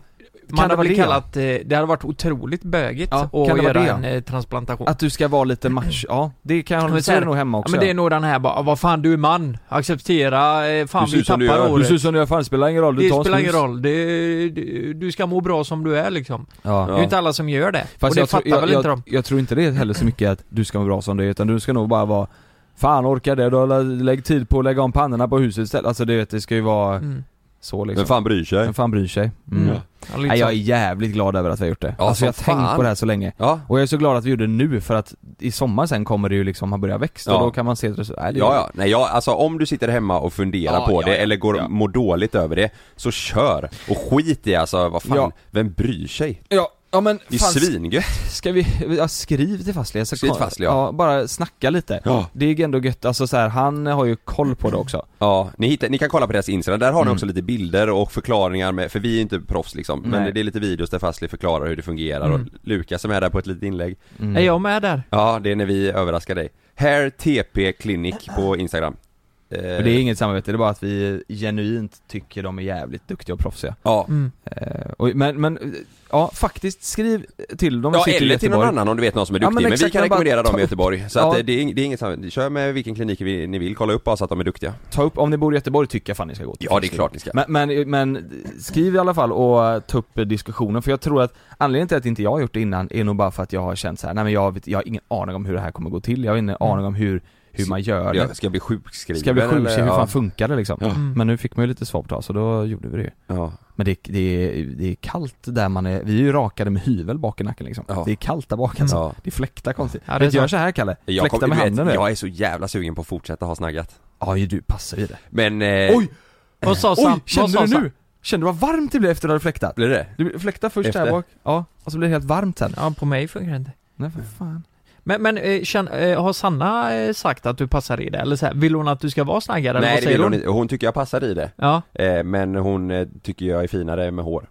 Speaker 4: Man
Speaker 3: det
Speaker 4: hade
Speaker 3: vara
Speaker 4: blivit
Speaker 3: det?
Speaker 4: kallat, eh, det hade varit otroligt bögigt
Speaker 3: Ja,
Speaker 4: att
Speaker 3: kan det vara
Speaker 4: göra
Speaker 3: det, ja?
Speaker 4: en eh, transplantation.
Speaker 3: Att du ska vara lite match, ja det kan jag
Speaker 4: Men
Speaker 3: hålla
Speaker 4: så
Speaker 3: så är
Speaker 4: här-
Speaker 3: det nog hemma också
Speaker 4: ja, men det är nog den här bara, vad fan du är man, acceptera, eh, fan
Speaker 2: Du ser
Speaker 4: vi
Speaker 2: ut som du
Speaker 4: tappar
Speaker 2: gör.
Speaker 3: Du
Speaker 4: året.
Speaker 3: ser ut som du gör, fan det spelar ingen roll, du
Speaker 4: Det
Speaker 3: tar en
Speaker 4: spelar ingen
Speaker 3: snus.
Speaker 4: roll, det, du, du ska må bra som du är liksom.
Speaker 3: Ja.
Speaker 4: Det är ju inte alla som gör det.
Speaker 3: Fast
Speaker 4: och det
Speaker 3: jag,
Speaker 4: fattar
Speaker 3: tror, jag,
Speaker 4: väl
Speaker 3: jag,
Speaker 4: inte de.
Speaker 3: jag tror inte det är heller så mycket att du ska vara bra som du är, utan du ska nog bara vara Fan orkar det då? Lä- Lägg tid på att lägga om pannorna på huset istället. Alltså det, det ska ju vara
Speaker 4: Mm.
Speaker 3: så liksom.
Speaker 2: Vem fan bryr sig?
Speaker 3: Vem fan bryr sig? Mm.
Speaker 4: Mm. Ja, lite
Speaker 3: Nej, jag är
Speaker 4: så.
Speaker 3: jävligt glad över att vi har gjort det.
Speaker 2: Ja,
Speaker 3: alltså
Speaker 2: som
Speaker 3: jag har tänkt
Speaker 2: fan.
Speaker 3: på det här så länge.
Speaker 2: Ja,
Speaker 3: Och jag är så glad att vi gjorde det nu för att i sommar sen kommer det ju liksom ha börjat växa och
Speaker 2: Ja.
Speaker 3: då kan man se det så, nej, det
Speaker 2: ja, ja. Nej, jag, alltså om du sitter hemma och funderar
Speaker 3: Ja,
Speaker 2: på
Speaker 3: ja,
Speaker 2: det
Speaker 3: ja.
Speaker 2: eller går,
Speaker 3: Ja.
Speaker 2: mår dåligt över det, så kör! Och skit i alltså, vad fan,
Speaker 3: Ja.
Speaker 2: vem bryr sig?
Speaker 3: ja, ja men
Speaker 2: Det är
Speaker 3: fan,
Speaker 2: svingött!
Speaker 3: Ska vi, ja, skriv till Fastlia så
Speaker 2: Skriv till Fastlia, ja.
Speaker 3: bara snacka lite.
Speaker 2: Ja.
Speaker 3: Det är ju ändå gött, alltså så här, han har ju koll på det också.
Speaker 2: Ja, ni, hittar, ni kan kolla på deras Instagram, där har ni
Speaker 3: Mm.
Speaker 2: också lite bilder och förklaringar med, för vi är ju inte proffs liksom,
Speaker 3: Nej.
Speaker 2: men det är lite videos där Fastly förklarar hur det fungerar och
Speaker 4: Mm.
Speaker 2: Lukas som är där på ett litet inlägg
Speaker 3: Mm.
Speaker 4: Är jag med där?
Speaker 2: Ja, det är när vi överraskar dig. Hair TP Clinic på Instagram. Eh,
Speaker 3: Men det är inget samarbete, det är bara att vi genuint tycker de är jävligt duktiga och proffsiga.
Speaker 2: Ja.
Speaker 4: Mm.
Speaker 3: Eh, och, men, men, eh, ja faktiskt skriv till dem.
Speaker 2: Ja,
Speaker 3: sitter i
Speaker 2: eller till någon
Speaker 3: Göteborg.
Speaker 2: annan om du vet någon som är
Speaker 3: Ja,
Speaker 2: duktig,
Speaker 3: men
Speaker 2: men, vi
Speaker 3: exakt,
Speaker 2: kan
Speaker 3: men bara
Speaker 2: rekommendera dem
Speaker 3: ta-
Speaker 2: i Göteborg. Så
Speaker 3: Ja.
Speaker 2: att eh, det, är, ing- det är inget samarbete. Kör med vilken klinik vi- ni vill, kolla upp bara så att de är duktiga.
Speaker 3: Ta upp, om ni bor i Göteborg tycker jag fan ni ska gå till
Speaker 2: Ja, det är
Speaker 3: Fastlia.
Speaker 2: klart ni ska.
Speaker 3: Men, men, men skriv i alla fall och ta upp diskussionen för jag tror att anledningen till att inte jag har gjort det innan är nog bara för att jag har känt så här, nej men jag, vet, jag har ingen aning om hur det här kommer gå till, jag har ingen aning om hur, hur man gör det.
Speaker 2: Jag ska jag bli sjukskriven
Speaker 3: Ska jag bli
Speaker 2: eller?
Speaker 3: sjukskriven, hur
Speaker 2: Ja.
Speaker 3: fan funkar det liksom?
Speaker 2: Ja.
Speaker 4: Mm.
Speaker 3: Men nu fick man ju lite svar på det, så då gjorde vi det ju.
Speaker 2: Ja.
Speaker 3: Men det, det, är, det är kallt där man är, vi är ju rakade med hyvel bak i nacken liksom.
Speaker 2: Ja.
Speaker 3: Det är kallt där bak alltså.
Speaker 2: Ja.
Speaker 3: Det fläktar konstigt.
Speaker 4: Ja, det är
Speaker 3: Vet du,
Speaker 4: så.
Speaker 3: gör så här Kalle,
Speaker 2: Jag,
Speaker 3: fläkta
Speaker 2: kom,
Speaker 3: med
Speaker 2: du
Speaker 3: handen
Speaker 2: vet,
Speaker 3: nu.
Speaker 2: jag är så jävla sugen på att fortsätta ha snaggat.
Speaker 3: Ja ju du passar ju det.
Speaker 2: Men... Eh,
Speaker 3: Oj!
Speaker 4: Vad sa Sam?
Speaker 3: Oj,
Speaker 4: Vad
Speaker 3: kände
Speaker 4: sa
Speaker 3: du
Speaker 4: Sam?
Speaker 3: nu? Kände du vad varmt det blev efter att du hade fläktat?
Speaker 2: Blir det?
Speaker 3: Du fläktar först
Speaker 2: Efter.
Speaker 3: här bak, ja, och så blir det helt varmt sen.
Speaker 4: Ja, på mig funkar det inte.
Speaker 3: Nej för fan.
Speaker 4: Men, men eh, känn, eh, har Sanna eh, sagt att du passar i det? Eller så här, vill hon att du ska vara snaggad? eller
Speaker 2: Nej
Speaker 4: vad
Speaker 2: det
Speaker 4: säger
Speaker 2: vill hon inte. Hon tycker jag passar i det.
Speaker 4: Ja,
Speaker 2: Eh, men hon eh, tycker jag är finare med hår.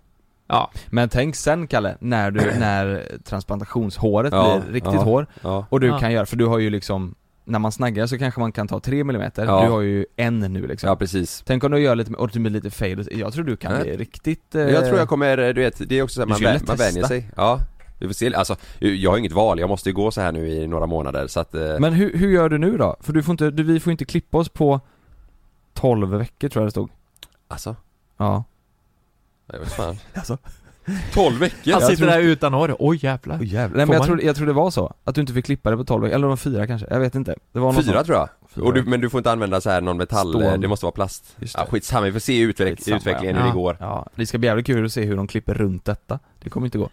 Speaker 4: ja.
Speaker 3: Men tänk sen Kalle, när du, när transplantationshåret
Speaker 2: Ja,
Speaker 3: blir riktigt
Speaker 2: ja.
Speaker 3: hår
Speaker 2: Ja.
Speaker 3: och du
Speaker 4: Ja.
Speaker 3: kan göra, för du har ju liksom, när man snaggar så kanske man kan ta 3 mm,
Speaker 2: Ja.
Speaker 3: du har ju en nu liksom.
Speaker 2: Ja precis.
Speaker 3: Tänk om du gör lite, och du blir lite fade, jag tror du kan
Speaker 2: Nej.
Speaker 3: bli riktigt... Eh,
Speaker 2: Jag tror jag kommer, du vet, det är också så här,
Speaker 3: Du
Speaker 2: man,
Speaker 3: skulle
Speaker 2: vä- man
Speaker 3: testa.
Speaker 2: vänjer sig. Ja. Vi får se, alltså, jag har inget val, jag måste ju gå så här nu i några månader så att, eh,
Speaker 3: Men hur, hur gör du nu då? För du får inte, du, vi får inte klippa oss på 12 veckor tror jag det stod.
Speaker 2: alltså,
Speaker 3: Ja.
Speaker 2: jag vet fan.
Speaker 3: Alltså.
Speaker 2: 12 veckor?
Speaker 4: Han
Speaker 3: jag
Speaker 4: sitter
Speaker 3: tror-
Speaker 4: där utan hår. Oj jävlar.
Speaker 3: Oh, jävlar. Nej men
Speaker 4: Får
Speaker 3: jag
Speaker 4: man-
Speaker 3: tror, jag tror det var så, att du inte fick klippa det på 12 veckor, eller de fyra kanske, jag vet inte. Det var någon
Speaker 2: Fyra tror jag.
Speaker 3: sån-
Speaker 2: Och du, men du får inte använda så här någon metall,
Speaker 3: Stål.
Speaker 2: eh, det måste vara plast.
Speaker 3: Just det.
Speaker 2: Ja, skitsamma, vi får se utveck-
Speaker 3: Skitsamma,
Speaker 2: utvecklingen
Speaker 4: ja.
Speaker 2: hur
Speaker 4: Ja.
Speaker 2: det går.
Speaker 3: Ja, det ska bli jävligt kul att se hur de klipper runt detta. Det kommer inte gå.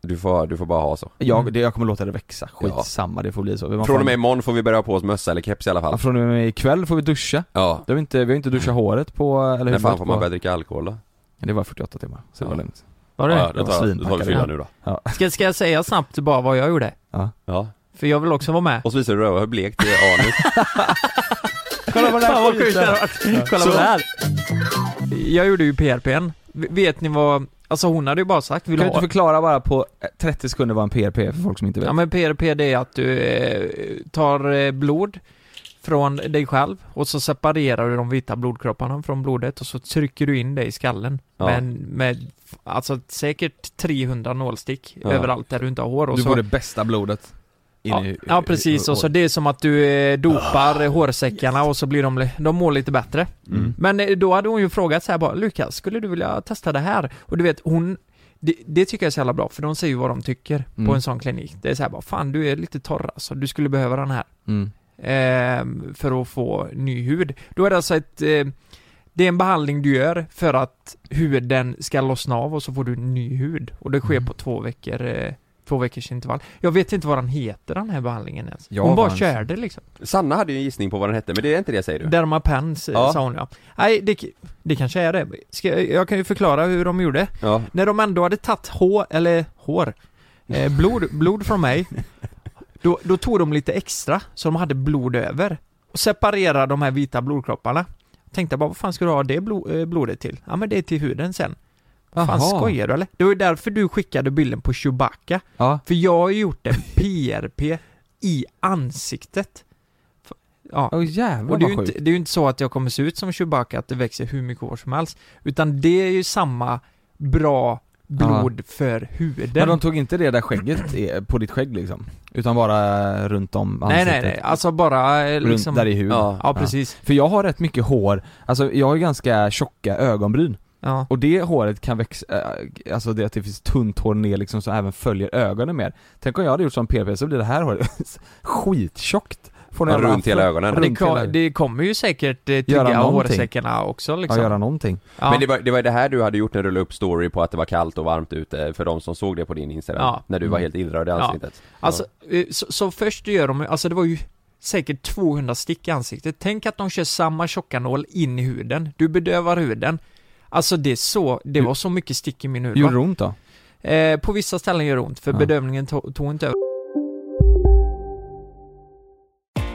Speaker 2: Du får, du får bara ha så.
Speaker 3: Jag,
Speaker 4: Mm.
Speaker 3: det, jag kommer låta det växa, skitsamma, det får bli så. Man
Speaker 2: Från och med
Speaker 3: får-
Speaker 2: imorgon får vi börja ha på oss mössa eller keps i alla
Speaker 3: ja,
Speaker 2: fall.
Speaker 3: från och med ikväll får vi duscha.
Speaker 2: Ja.
Speaker 3: Det har vi, inte, vi har inte duschat håret på, eller
Speaker 2: När Mm. fan
Speaker 3: huvudet
Speaker 2: får
Speaker 3: på...
Speaker 2: man börja dricka alkohol då?
Speaker 3: Det var 48 timmar, så det
Speaker 2: Ja.
Speaker 3: var lugnt.
Speaker 4: Var det?
Speaker 2: ja, då
Speaker 3: Jag var
Speaker 2: tar, då tar vi
Speaker 3: svinpackad.
Speaker 2: fyra nu då.
Speaker 4: Ska, ska jag säga snabbt bara vad jag gjorde?
Speaker 2: Ja.
Speaker 4: För jag vill också vara med.
Speaker 2: Och så visar du röva hur blekt det är anus.
Speaker 4: Kolla på det
Speaker 6: Fan, vad sjukt det hade
Speaker 4: Kolla på det här. Jag gjorde ju PRPn. V- Vet ni vad, alltså hon hade ju bara sagt,
Speaker 3: Kan
Speaker 4: vill
Speaker 3: du
Speaker 4: du
Speaker 3: inte
Speaker 4: ha
Speaker 3: förklara bara på eh, 30 sekunder vad en PRP är för folk som inte vet?
Speaker 4: Ja men PRP det är att du eh, tar eh, blod från dig själv och så separerar du de vita blodkropparna från blodet och så trycker du in det i skallen.
Speaker 2: Ja.
Speaker 4: Men med, alltså säkert 300 nålstick
Speaker 2: Ja.
Speaker 4: överallt där du inte har hår och
Speaker 3: du
Speaker 4: så
Speaker 3: får det bästa blodet in
Speaker 4: Ja,
Speaker 3: i,
Speaker 4: ja precis, och så det är som att du eh, dopar eh, hårsäckarna och så blir de, li- de mår lite bättre.
Speaker 3: Mm.
Speaker 4: Men eh, då hade hon ju frågat så här bara, Lukas, skulle du vilja testa det här? Och du vet, hon, det, det tycker jag är så jävla bra, för de säger ju vad de tycker
Speaker 3: Mm.
Speaker 4: på en sån klinik. Det är så här bara, fan du är lite torr alltså, du skulle behöva den här
Speaker 3: Mm.
Speaker 4: ehm, för att få ny hud. Då är det alltså ett, eh, det är en behandling du gör för att huden ska lossna av och så får du ny hud. Och det sker
Speaker 3: Mm.
Speaker 4: på två veckor, eh, två veckors intervall. Jag vet inte vad den heter den här behandlingen ens.
Speaker 3: Ja,
Speaker 4: Hon bara
Speaker 3: vad han-
Speaker 4: körde liksom.
Speaker 2: Sanna hade ju en gissning på vad den hette, men det är inte det säger du?
Speaker 4: Dermapens eh,
Speaker 2: Ja.
Speaker 4: sa hon ja. Nej, det, det kanske är det. Ska, jag kan ju förklara hur de gjorde.
Speaker 2: Ja.
Speaker 4: När de ändå hade tagit hår, eller hår, eh, blod, blod från mig då, då tog de lite extra, så de hade blod över och separerade de här vita blodkropparna Tänkte bara, vad fan ska du ha det blo- eh, blodet till? Ja men det är till huden sen Vad fan
Speaker 3: Jaha.
Speaker 4: skojar du eller? Det var ju därför du skickade bilden på Chewbacca
Speaker 3: Ja.
Speaker 4: För jag har ju gjort en PRP i ansiktet F- Ja,
Speaker 3: Åh jävlar
Speaker 4: och det är,
Speaker 3: vad
Speaker 4: ju
Speaker 3: sjukt.
Speaker 4: inte, det är ju inte så att jag kommer se ut som Chewbacca, att det växer hur mycket hår som helst. Utan det är ju samma bra blod för huden.
Speaker 3: Men de tog inte det där skägget är, på ditt skägg liksom? Utan bara runt om
Speaker 4: nej,
Speaker 3: ansiktet?
Speaker 4: nej, nej. Alltså bara eh,
Speaker 3: Runt
Speaker 4: liksom...
Speaker 3: där i huden?
Speaker 4: Ja, precis.
Speaker 3: För jag har rätt mycket hår, alltså jag har ju ganska tjocka ögonbryn
Speaker 4: Ja.
Speaker 3: Och det håret kan växa, äh, alltså det att det finns tunt hår ner liksom som även följer ögonen mer Tänk om jag hade gjort som PRP så blir det här håret skittjockt Från
Speaker 2: Ja, runt hela ögonen.
Speaker 4: Men det,
Speaker 3: Runt hela-
Speaker 4: ko- det kommer ju säkert eh,
Speaker 3: Göra
Speaker 4: tugga
Speaker 3: någonting.
Speaker 4: hårsäckarna också liksom.
Speaker 3: Ja, göra någonting
Speaker 4: Ja.
Speaker 2: Men det var, det var det här du hade gjort när du la upp story på att det var kallt och varmt ute för de som såg det på din Instagram.
Speaker 4: Ja.
Speaker 2: När du var helt illröd i ansiktet.
Speaker 4: Alltså, eh, så, så först gör de alltså det var ju säkert 200 stick i ansiktet. Tänk att de kör samma tjocka nål in i huden. Du bedövar huden. Alltså det är så, det var så mycket stick i min hud. va?
Speaker 3: Gjorde det ont då?
Speaker 4: Eh, på vissa ställen gör det ont, för
Speaker 3: Ja.
Speaker 4: bedömningen to- tog inte över.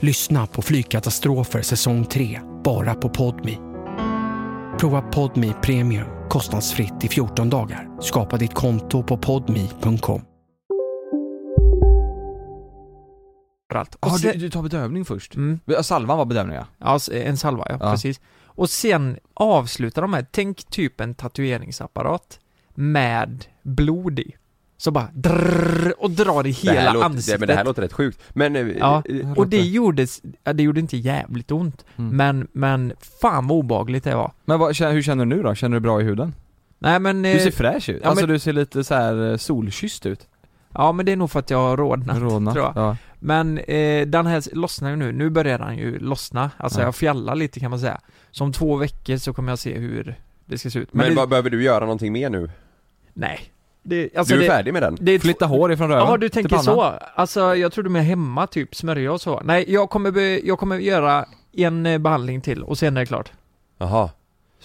Speaker 7: Lyssna på Flygkatastrofer säsong 3, bara på Podmi. Prova Podmi Premium kostnadsfritt i 14 dagar. Skapa ditt konto på podmi.com.
Speaker 4: Allt. Och
Speaker 3: Ja, du,
Speaker 4: sen,
Speaker 3: du tar bedövning först?
Speaker 4: Mm.
Speaker 3: Ja, Salvan var bedövning ja
Speaker 4: ja, s- en salva, ja,
Speaker 3: Ja.
Speaker 4: precis. Och sen avslutar de här, tänk typ en tatueringsapparat med blod i. Så bara drrrr, och drar i
Speaker 2: det,
Speaker 4: hela
Speaker 2: här låter, det,
Speaker 4: ansiktet.
Speaker 2: men det här låter rätt sjukt. Men... eh,
Speaker 4: Ja,
Speaker 2: eh,
Speaker 4: och det gjordes, ja, det gjorde inte jävligt ont.
Speaker 3: Mm.
Speaker 4: Men, men fan vad obagligt det var.
Speaker 3: Men vad, hur känner du nu då? Känner du bra i huden?
Speaker 4: Nej men,
Speaker 3: Du
Speaker 4: eh,
Speaker 3: ser fräsch ut,
Speaker 4: ja,
Speaker 3: alltså
Speaker 4: men-
Speaker 3: du ser lite så här eh, solkysst ut
Speaker 4: ja men det är nog för att jag har rodnat,
Speaker 3: Rodnat,
Speaker 4: tror jag.
Speaker 3: ja.
Speaker 4: Men eh, den här lossnar ju nu, nu börjar den ju lossna. Alltså
Speaker 3: Ja.
Speaker 4: jag fjällar lite kan man säga. Så om två veckor så kommer jag se hur det ska se ut.
Speaker 2: Men,
Speaker 4: det,
Speaker 2: vad behöver du göra någonting mer nu?
Speaker 4: nej. Det, alltså
Speaker 2: du är
Speaker 4: det,
Speaker 2: färdig med den?
Speaker 4: det är två-
Speaker 3: Flytta hår ifrån röven
Speaker 4: Jaha, du
Speaker 3: till
Speaker 4: tänker
Speaker 3: pannan.
Speaker 4: så? Alltså jag tror du menar hemma typ, smörja och så. Nej, jag kommer, be, jag kommer göra en eh, behandling till och sen är det klart.
Speaker 2: Jaha.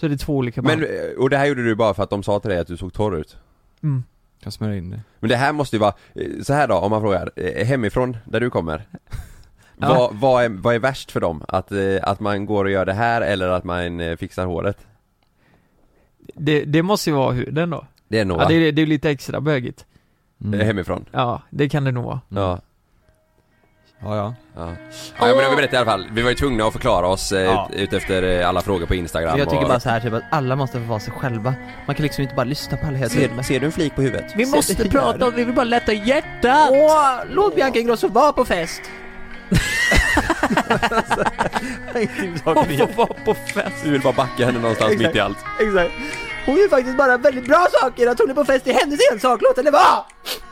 Speaker 4: Så det är två olika
Speaker 2: Men,
Speaker 4: behandlingar.
Speaker 2: eh, och det här gjorde du bara för att de sa till dig att du såg torr ut?
Speaker 4: Mm.
Speaker 3: Kan smörja in det.
Speaker 2: Men det här måste ju vara, eh, så här då om man frågar, eh, hemifrån där du kommer
Speaker 4: Ja.
Speaker 2: vad, vad, är, vad är värst för dem? Att, eh, att man går och gör det här eller att man eh, fixar håret?
Speaker 4: Det, det måste ju vara huden då.
Speaker 2: Det är nog
Speaker 4: Ja,
Speaker 2: va?
Speaker 4: det, Mm. är- det är lite extra bögigt.
Speaker 2: Eh, Hemifrån?
Speaker 4: Ja, det kan det nog vara.
Speaker 2: Ja
Speaker 3: Ja ja
Speaker 2: Ja, ja men jag vill berätta i alla fall, vi var ju tvungna att förklara oss eh,
Speaker 8: Ja.
Speaker 2: ut, utefter eh, alla frågor på Instagram
Speaker 8: För jag tycker
Speaker 2: och...
Speaker 8: bara så här typ att alla måste få vara sig själva. Man kan liksom inte bara lyssna på alla hela
Speaker 2: Ser-
Speaker 8: tiden.
Speaker 2: ser du en flik på huvudet?
Speaker 6: Vi måste prata om, vi vill bara lätta hjärtat! Åh, låt Bianca Ingrosso vara på fest!
Speaker 2: Hon får vara på fest! Du vill bara backa henne någonstans
Speaker 6: Exakt.
Speaker 2: mitt i allt
Speaker 6: Exakt. Hon gör faktiskt bara väldigt bra saker, att hon är på fest är hennes ensak, låt henne vara!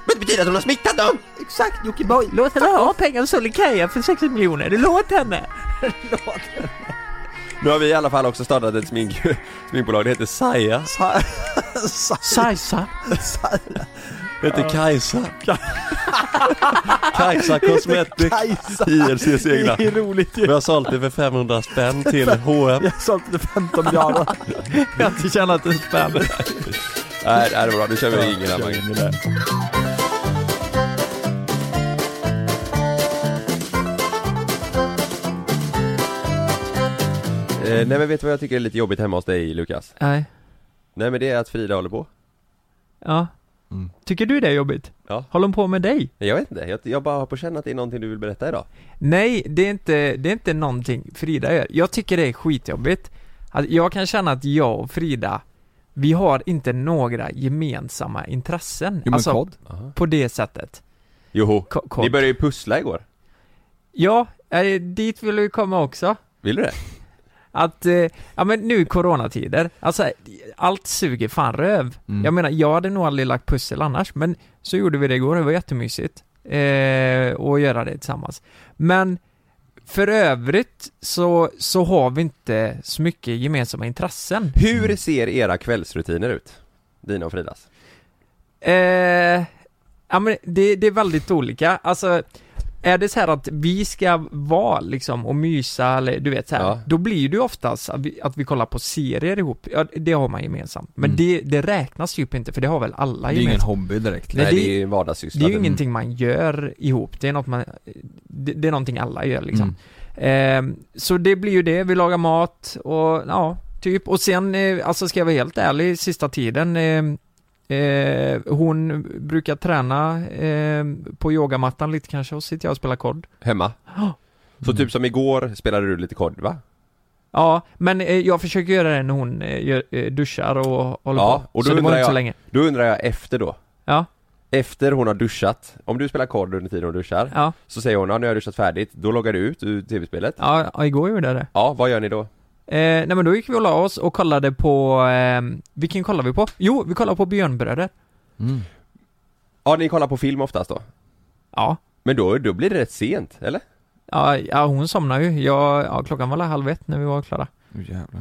Speaker 6: Men det betyder att hon har smittat dem! Exakt Jockiboi!
Speaker 4: Låt henne ha pengar och Sollikaja för 60 miljoner, låt henne!
Speaker 2: Nu har vi i alla fall också startat ett smink, sminkbolag, det heter Saja
Speaker 4: Sajsa!
Speaker 2: Det heter Kajsa Kajsa Cosmetics IRCs egna
Speaker 9: Det är roligt
Speaker 2: Vi har sålt det för 500 spänn till H&M
Speaker 9: Jag sålde det 15 miljarder.
Speaker 4: Jag har inte tjänat en spänn.
Speaker 2: Nej, det här är bra, nu kör vi ingen här Mange. Eh, nej men vet du vad jag tycker är lite jobbigt hemma hos dig Lukas?
Speaker 4: Nej.
Speaker 2: Nej men det är att Frida håller på
Speaker 4: Ja. Tycker du det är jobbigt?
Speaker 2: Ja.
Speaker 4: Håller hon på med dig?
Speaker 2: Jag vet inte, jag, jag bara har på känn att det är någonting du vill berätta idag
Speaker 4: Nej, det är inte, det är inte någonting Frida gör. Jag tycker det är skitjobbigt. Att jag kan känna att jag och Frida, vi har inte några gemensamma intressen. Alltså,
Speaker 2: men kod.
Speaker 4: på det sättet.
Speaker 2: Joho,
Speaker 4: kort.
Speaker 2: ni började ju pussla igår
Speaker 4: Ja, eh, dit vill vi komma också.
Speaker 2: Vill du det?
Speaker 4: Att, eh, ja men nu i coronatider, alltså allt suger fan röv. Jag menar, jag hade nog aldrig lagt pussel annars, men så gjorde vi det igår, det var jättemysigt. Eh, att göra det tillsammans. Men för övrigt så, så har vi inte så mycket gemensamma intressen.
Speaker 2: Hur ser era kvällsrutiner ut? Dina och Fridas?
Speaker 4: Eh, ja men det, det är väldigt olika, alltså är det så här att vi ska vara liksom och mysa eller du vet så här,
Speaker 2: Ja.
Speaker 4: då blir det ju oftast att vi, att vi kollar på serier ihop, ja det har man gemensamt. Men det, det räknas typ inte för det har väl alla
Speaker 3: Mm. Det är ju ingen hobby direkt
Speaker 4: Nej, det, är,
Speaker 2: vardagssyssla
Speaker 4: det är ju ingenting man gör ihop, det är något man, det, det är någonting alla gör liksom.
Speaker 8: Mm.
Speaker 4: Eh, så det blir ju det, vi lagar mat och ja, typ. Och sen, eh, alltså ska jag vara helt ärlig, sista tiden eh, eh, hon brukar träna eh, på yogamattan lite kanske och sitter jag och spelar kod.
Speaker 2: Hemma? Så typ som igår spelade du lite kod va?
Speaker 4: Ja, men eh, jag försöker göra det när hon eh, gör, eh, duschar och håller
Speaker 2: Ja,
Speaker 4: på.
Speaker 2: och då
Speaker 4: så det var
Speaker 2: undrar,
Speaker 4: inte
Speaker 2: jag,
Speaker 4: så länge.
Speaker 2: då undrar jag efter då
Speaker 4: Ja.
Speaker 2: Efter hon har duschat, om du spelar kod under tiden hon duschar
Speaker 4: Ja.
Speaker 2: Så säger hon ja, nu har jag duschat färdigt, då loggar du ut ur tv-spelet
Speaker 4: Ja, ja, igår gjorde jag det.
Speaker 2: Ja, vad gör ni då?
Speaker 4: Eh, nej men då gick vi och la oss och kollade på, eh, vilken kollar vi på? Jo, vi kollade på Björnbröder.
Speaker 2: Ja, ni kollar på film oftast då?
Speaker 4: Ja
Speaker 2: Men då, då blir det rätt sent, eller?
Speaker 4: Ja, ja hon somnade ju. Jag, ja, klockan var väl halv ett när vi var klara.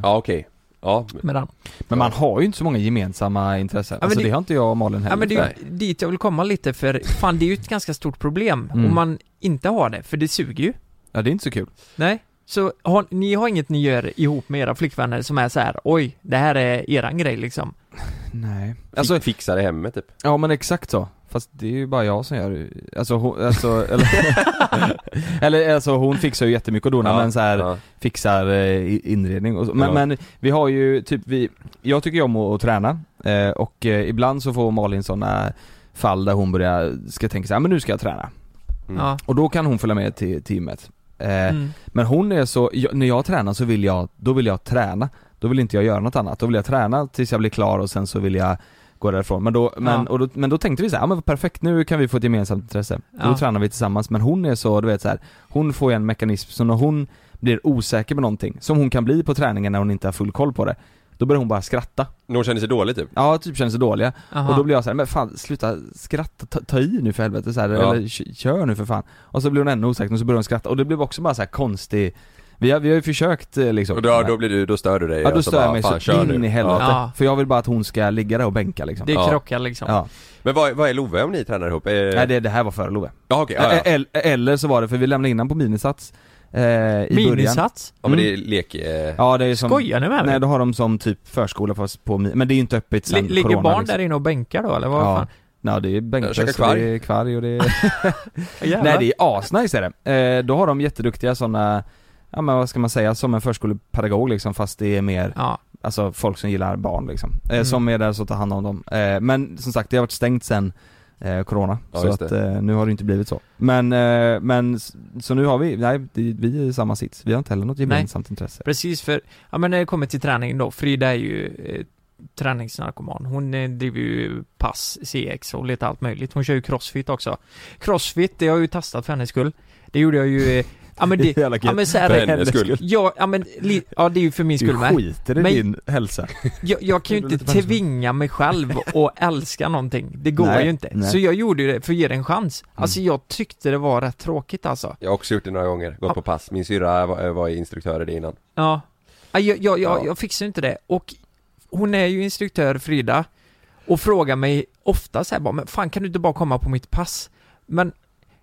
Speaker 2: Ja okej, ja
Speaker 4: Med den.
Speaker 3: Men man har ju inte så många gemensamma intressen,
Speaker 4: men
Speaker 3: alltså
Speaker 4: det-
Speaker 3: det, har inte jag och Malin heller
Speaker 4: Ja, men det är
Speaker 3: Nej.
Speaker 4: ju dit jag vill komma lite för fan det är ju ett ganska stort problem
Speaker 3: Mm.
Speaker 4: om man inte har det, för det suger ju.
Speaker 3: Ja det är inte så kul
Speaker 4: Nej. Så har, ni har inget ni gör ihop med era flickvänner som är så här: oj, det här är eran grej liksom.
Speaker 3: Nej
Speaker 2: Alltså fixa det hemma typ
Speaker 3: Ja men exakt så, fast det är ju bara jag som gör det. Alltså hon, alltså, eller, eller alltså hon fixar ju jättemycket och donar
Speaker 2: Ja,
Speaker 3: men så här
Speaker 2: ja.
Speaker 3: fixar eh, i- inredning och så. Men,
Speaker 2: Ja.
Speaker 3: men vi har ju typ vi, jag tycker ju om att, att träna eh, och eh, ibland så får Malin sådana fall där hon börjar, ska tänka så här, men nu ska jag träna.
Speaker 4: Mm. Ja.
Speaker 3: Och då kan hon följa med till timmet. Eh,
Speaker 4: Mm.
Speaker 3: Men hon är så, jag, när jag tränar så vill jag, då vill jag träna. Då vill inte jag göra något annat. Då vill jag träna tills jag blir klar och sen så vill jag gå därifrån. Men då, men,
Speaker 4: Ja.
Speaker 3: och då, men då tänkte vi så här, ja men perfekt nu kan vi få ett gemensamt intresse.
Speaker 4: Ja.
Speaker 3: Då tränar vi tillsammans. Men hon är så, du vet så här, hon får ju en mekanism, så när hon blir osäker på någonting, som hon kan bli på träningen när hon inte har full koll på det, då börjar hon bara skratta.
Speaker 2: När hon känner sig dålig typ?
Speaker 3: Ja, typ känner sig dåliga.
Speaker 2: Aha.
Speaker 3: Och då blir jag så här, men fan sluta skratta, ta, ta i nu för helvete så här,
Speaker 2: Ja.
Speaker 3: eller k- kör nu för fan. Och så blir hon ännu osäker och så börjar hon skratta och det blev också bara så här konstig vi har, vi har ju försökt eh, liksom
Speaker 2: Och då, då blir du, då stör du dig
Speaker 3: Ja då
Speaker 2: Alltså,
Speaker 3: stör
Speaker 2: bara,
Speaker 3: jag mig
Speaker 2: fan,
Speaker 3: så
Speaker 2: kör nu.
Speaker 3: in i helvete,
Speaker 2: Ja.
Speaker 3: för jag vill bara att hon ska ligga där och bänka liksom
Speaker 4: Det
Speaker 3: Ja.
Speaker 4: krockar liksom.
Speaker 3: Ja.
Speaker 2: Men vad, vad är Love om ni tränar ihop? Eh...
Speaker 3: Nej det, det här var före Love eh,
Speaker 2: Ja okej, ja, ja.
Speaker 3: Eller, eller så var det, för vi lämnade in honom på minisats eh, eh, i början.
Speaker 4: Minisats?
Speaker 2: Ja men det är
Speaker 3: Mm.
Speaker 2: lek... Eh,
Speaker 3: Ja det är som,
Speaker 4: Skojar ni med mig?
Speaker 3: Nej då har de som typ förskola fast på, mi- men det är ju inte öppet sen
Speaker 4: Li- ligger
Speaker 3: corona,
Speaker 4: barn
Speaker 3: liksom.
Speaker 4: där inne och bänkar då eller vad
Speaker 3: ja.
Speaker 4: fan?
Speaker 3: Ja det är bänkar,
Speaker 4: Käkar
Speaker 3: så det är
Speaker 4: kvarg.
Speaker 3: kvarg och det är... Nej det är asnice är det. Eh, då har de jätteduktiga sådana, ja men vad ska man säga, som en förskolepedagog liksom fast det är mer, alltså folk som gillar barn liksom. Eh,
Speaker 4: Mm.
Speaker 3: Som är där så tar hand om dem. Eh, men som sagt det har varit stängt sen eh, Corona,
Speaker 2: Ja,
Speaker 3: så
Speaker 2: just
Speaker 3: att
Speaker 2: det.
Speaker 3: eh, nu har det inte blivit så. Men, eh, men s- så nu har vi, nej det- vi är i samma sits, vi har inte heller något gemensamt intresse.
Speaker 4: Precis för, ja men när det kommer till träning då, Frida är ju eh, träningsnarkoman. Hon eh, driver ju pass, CX och lite allt möjligt. Hon kör ju crossfit också. Crossfit, det har jag ju testat för hennes skull. Det gjorde jag ju eh, Ja men det,
Speaker 3: Jävla
Speaker 4: ja men så här,
Speaker 3: För hennes skull.
Speaker 4: Ja, ja men, li, ja det är ju för min
Speaker 3: Du
Speaker 4: skull med.
Speaker 3: skiter i
Speaker 4: Men
Speaker 3: din hälsa.
Speaker 4: jag, jag kan ju inte tvinga mig själv att älska någonting. Det går
Speaker 2: Nej,
Speaker 4: ju inte.
Speaker 2: nej.
Speaker 4: Så jag gjorde ju det för att ge det en chans. Alltså jag tyckte det var rätt tråkigt alltså.
Speaker 2: Jag har också gjort det några gånger, gått på pass. Min syrra var, eh, var instruktör i det innan.
Speaker 4: Ja. Ja, Jag, jag, jag, jag fixar ju inte det. Och hon är ju instruktör, Frida, och frågar mig ofta så här bara, men fan kan du inte bara komma på mitt pass? Men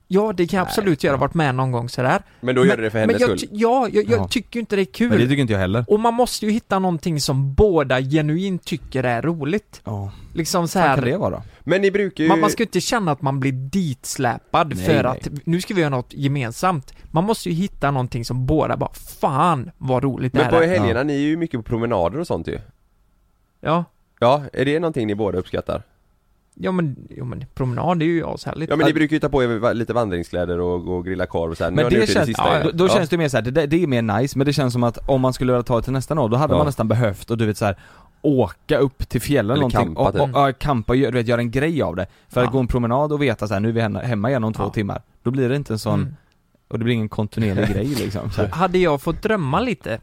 Speaker 4: Ja, det kan jag absolut göra, varit med någon gång sådär.
Speaker 2: Men då gör du det för hennes
Speaker 4: men jag,
Speaker 2: skull?
Speaker 4: ty- Ja, jag, jag
Speaker 3: Ja.
Speaker 4: tycker ju inte det är kul.
Speaker 3: Men det tycker inte jag heller.
Speaker 4: Och man måste ju hitta någonting som båda genuint tycker är roligt.
Speaker 3: Ja.
Speaker 4: Liksom så här.
Speaker 3: kan det vara då?
Speaker 2: Men ni brukar ju...
Speaker 4: Man, man ska ju inte känna att man blir ditsläpad
Speaker 2: Nej,
Speaker 4: för
Speaker 2: nej.
Speaker 4: att nu ska vi göra något gemensamt. Man måste ju hitta någonting som båda bara, fan vad roligt det
Speaker 2: Men
Speaker 4: här
Speaker 2: på
Speaker 4: är."
Speaker 2: helgerna, ni är ju mycket på promenader och sånt ju.
Speaker 4: Ja.
Speaker 2: Ja, är det någonting ni båda uppskattar?
Speaker 4: Ja men, ja, men promenad är ju ashärligt.
Speaker 2: Ja men ni brukar ju ta på er va- lite vandringskläder och, och grilla korv och så här. Nu
Speaker 3: Men
Speaker 2: har ni
Speaker 3: det
Speaker 2: gjort
Speaker 3: känns,
Speaker 2: sista
Speaker 3: ja,
Speaker 2: igen.
Speaker 3: då, då
Speaker 2: Ja.
Speaker 3: känns det mer såhär, det, där- det är mer nice, men det känns som att om man skulle vilja ta det till nästa år, då hade
Speaker 2: Ja.
Speaker 3: man nästan behövt, och du vet såhär Åka upp till fjällen
Speaker 2: Eller
Speaker 3: eller någonting
Speaker 2: campa,
Speaker 3: och, och,
Speaker 2: typ.
Speaker 3: ja, campa, och gör- du vet, göra en grej av det. För att gå en promenad och veta såhär, nu är vi hemma- hemma igen om två timmar. Då blir det inte en sån,
Speaker 4: Mm.
Speaker 3: och det blir ingen kontinuerlig grej liksom. Så här.
Speaker 4: Hade jag fått drömma lite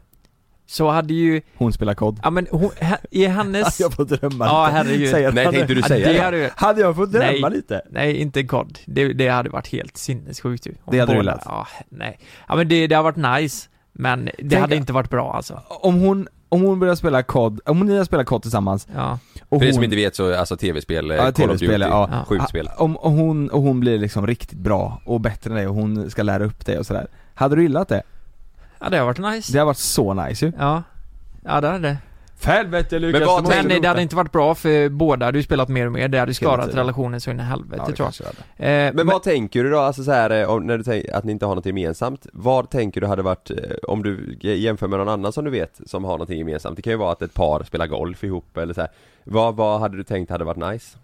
Speaker 4: så hade ju,
Speaker 3: Hon spelar kod.
Speaker 4: ja men hon, he- i hennes...
Speaker 3: jag får drömma
Speaker 4: Ja
Speaker 3: lite.
Speaker 4: herregud.
Speaker 3: Säger att hade-
Speaker 4: Ja,
Speaker 3: det?
Speaker 4: hade, ju-
Speaker 3: Hade jag fått drömma
Speaker 4: nej,
Speaker 3: lite?
Speaker 4: Nej, inte kod. Det, det hade varit helt sinnessjukt ju. Om
Speaker 3: Det hade du
Speaker 4: båda-
Speaker 3: velat?
Speaker 4: Ja, nej. Ja men det, det har varit nice, men det
Speaker 3: Tänk-
Speaker 4: hade inte varit bra alltså.
Speaker 3: Om hon, om hon börjar spela kod, om ni har spelat kod tillsammans
Speaker 4: Ja.
Speaker 3: och
Speaker 2: För er
Speaker 3: hon,
Speaker 2: som inte vet så, alltså tv-spel, eh,
Speaker 3: Oh. Ja,
Speaker 2: Call of
Speaker 3: tv-spel,
Speaker 2: Duty,
Speaker 3: ja.
Speaker 2: sjukt spel.
Speaker 3: Ah, Om, och, hon, och hon blir liksom riktigt bra och bättre än dig och hon ska lära upp dig och sådär. Hade du gillat det?
Speaker 4: Ja det har varit nice.
Speaker 3: Det har varit så nice ju.
Speaker 4: Ja. Ja det hade det.
Speaker 3: Helvete Lukas!
Speaker 4: Men,
Speaker 3: det måste du
Speaker 4: det
Speaker 3: rota.
Speaker 4: hade inte varit bra för båda, hade ju spelat mer och mer, det hade ju
Speaker 2: Hela
Speaker 4: skadat
Speaker 2: tiden.
Speaker 4: relationen så in i helvete
Speaker 2: Ja, det
Speaker 4: tror
Speaker 2: kanske
Speaker 4: jag.
Speaker 2: det
Speaker 4: Eh,
Speaker 2: Men, vad tänker du då, alltså så här, eh, om, när du tänker att ni inte har något gemensamt, vad tänker du hade varit, eh, om du j- jämför med någon annan som du vet som har någonting gemensamt? Det kan ju vara att ett par spelar golf ihop eller så här. Vad, vad hade du tänkt hade varit nice?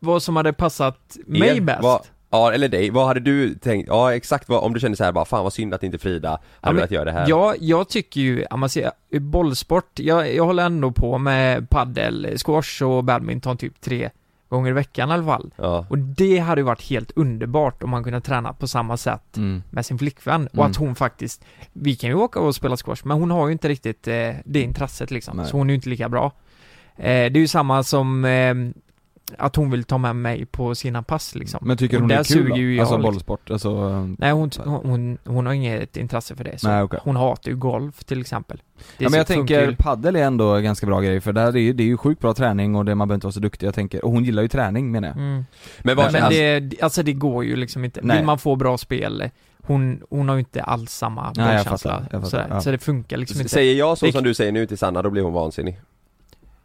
Speaker 4: vad som hade passat mig
Speaker 2: Er,
Speaker 4: bäst?
Speaker 2: Vad, ja, eller dig, vad hade du tänkt, ja exakt vad, om du kände så här bara, fan vad synd att inte Frida hade
Speaker 4: Ja, men
Speaker 2: velat göra det här.
Speaker 4: Jag, jag tycker ju, ja, man ser, bollsport, jag, jag håller ändå på med paddel, squash och badminton typ tre gånger i veckan i alla fall.
Speaker 2: Ja.
Speaker 4: Och det hade ju varit helt underbart om man kunde träna på samma sätt
Speaker 3: Mm.
Speaker 4: med sin flickvän och
Speaker 3: Mm.
Speaker 4: att hon faktiskt, vi kan ju åka och spela squash men hon har ju inte riktigt eh, det intresset liksom,
Speaker 3: Nej.
Speaker 4: så hon är ju inte lika bra. Eh, det är ju samma som eh, att hon vill ta med mig på sina pass liksom.
Speaker 3: Men tycker
Speaker 4: Och
Speaker 3: hon det
Speaker 4: där
Speaker 3: är kul
Speaker 4: suger ju
Speaker 3: då?
Speaker 4: jag,
Speaker 3: Alltså
Speaker 4: liksom.
Speaker 3: bollsport, alltså...
Speaker 4: Nej hon, hon, hon har inget intresse för det, så
Speaker 3: Nej, okej.
Speaker 4: hon hatar ju golf till exempel Det är
Speaker 3: ja, men jag
Speaker 4: så- funkar
Speaker 3: tänker
Speaker 4: ju-
Speaker 3: paddel är ändå en ganska bra grej för där är ju, det är ju sjukt bra träning och det, man behöver inte vara så duktig jag tänker, och hon gillar ju träning menar jag.
Speaker 4: Mm.
Speaker 2: Men
Speaker 4: Men,
Speaker 2: vad- alltså-
Speaker 4: det, alltså det går ju liksom inte,
Speaker 3: Nej.
Speaker 4: vill man få bra spel Hon, hon har ju inte alls samma
Speaker 3: Nej, jag
Speaker 4: bollkänsla
Speaker 3: fattar, jag fattar,
Speaker 4: sådär,
Speaker 3: ja.
Speaker 4: så det funkar liksom inte
Speaker 2: Säger jag så
Speaker 4: det,
Speaker 2: som du säger nu till Sanna, då blir hon vansinnig.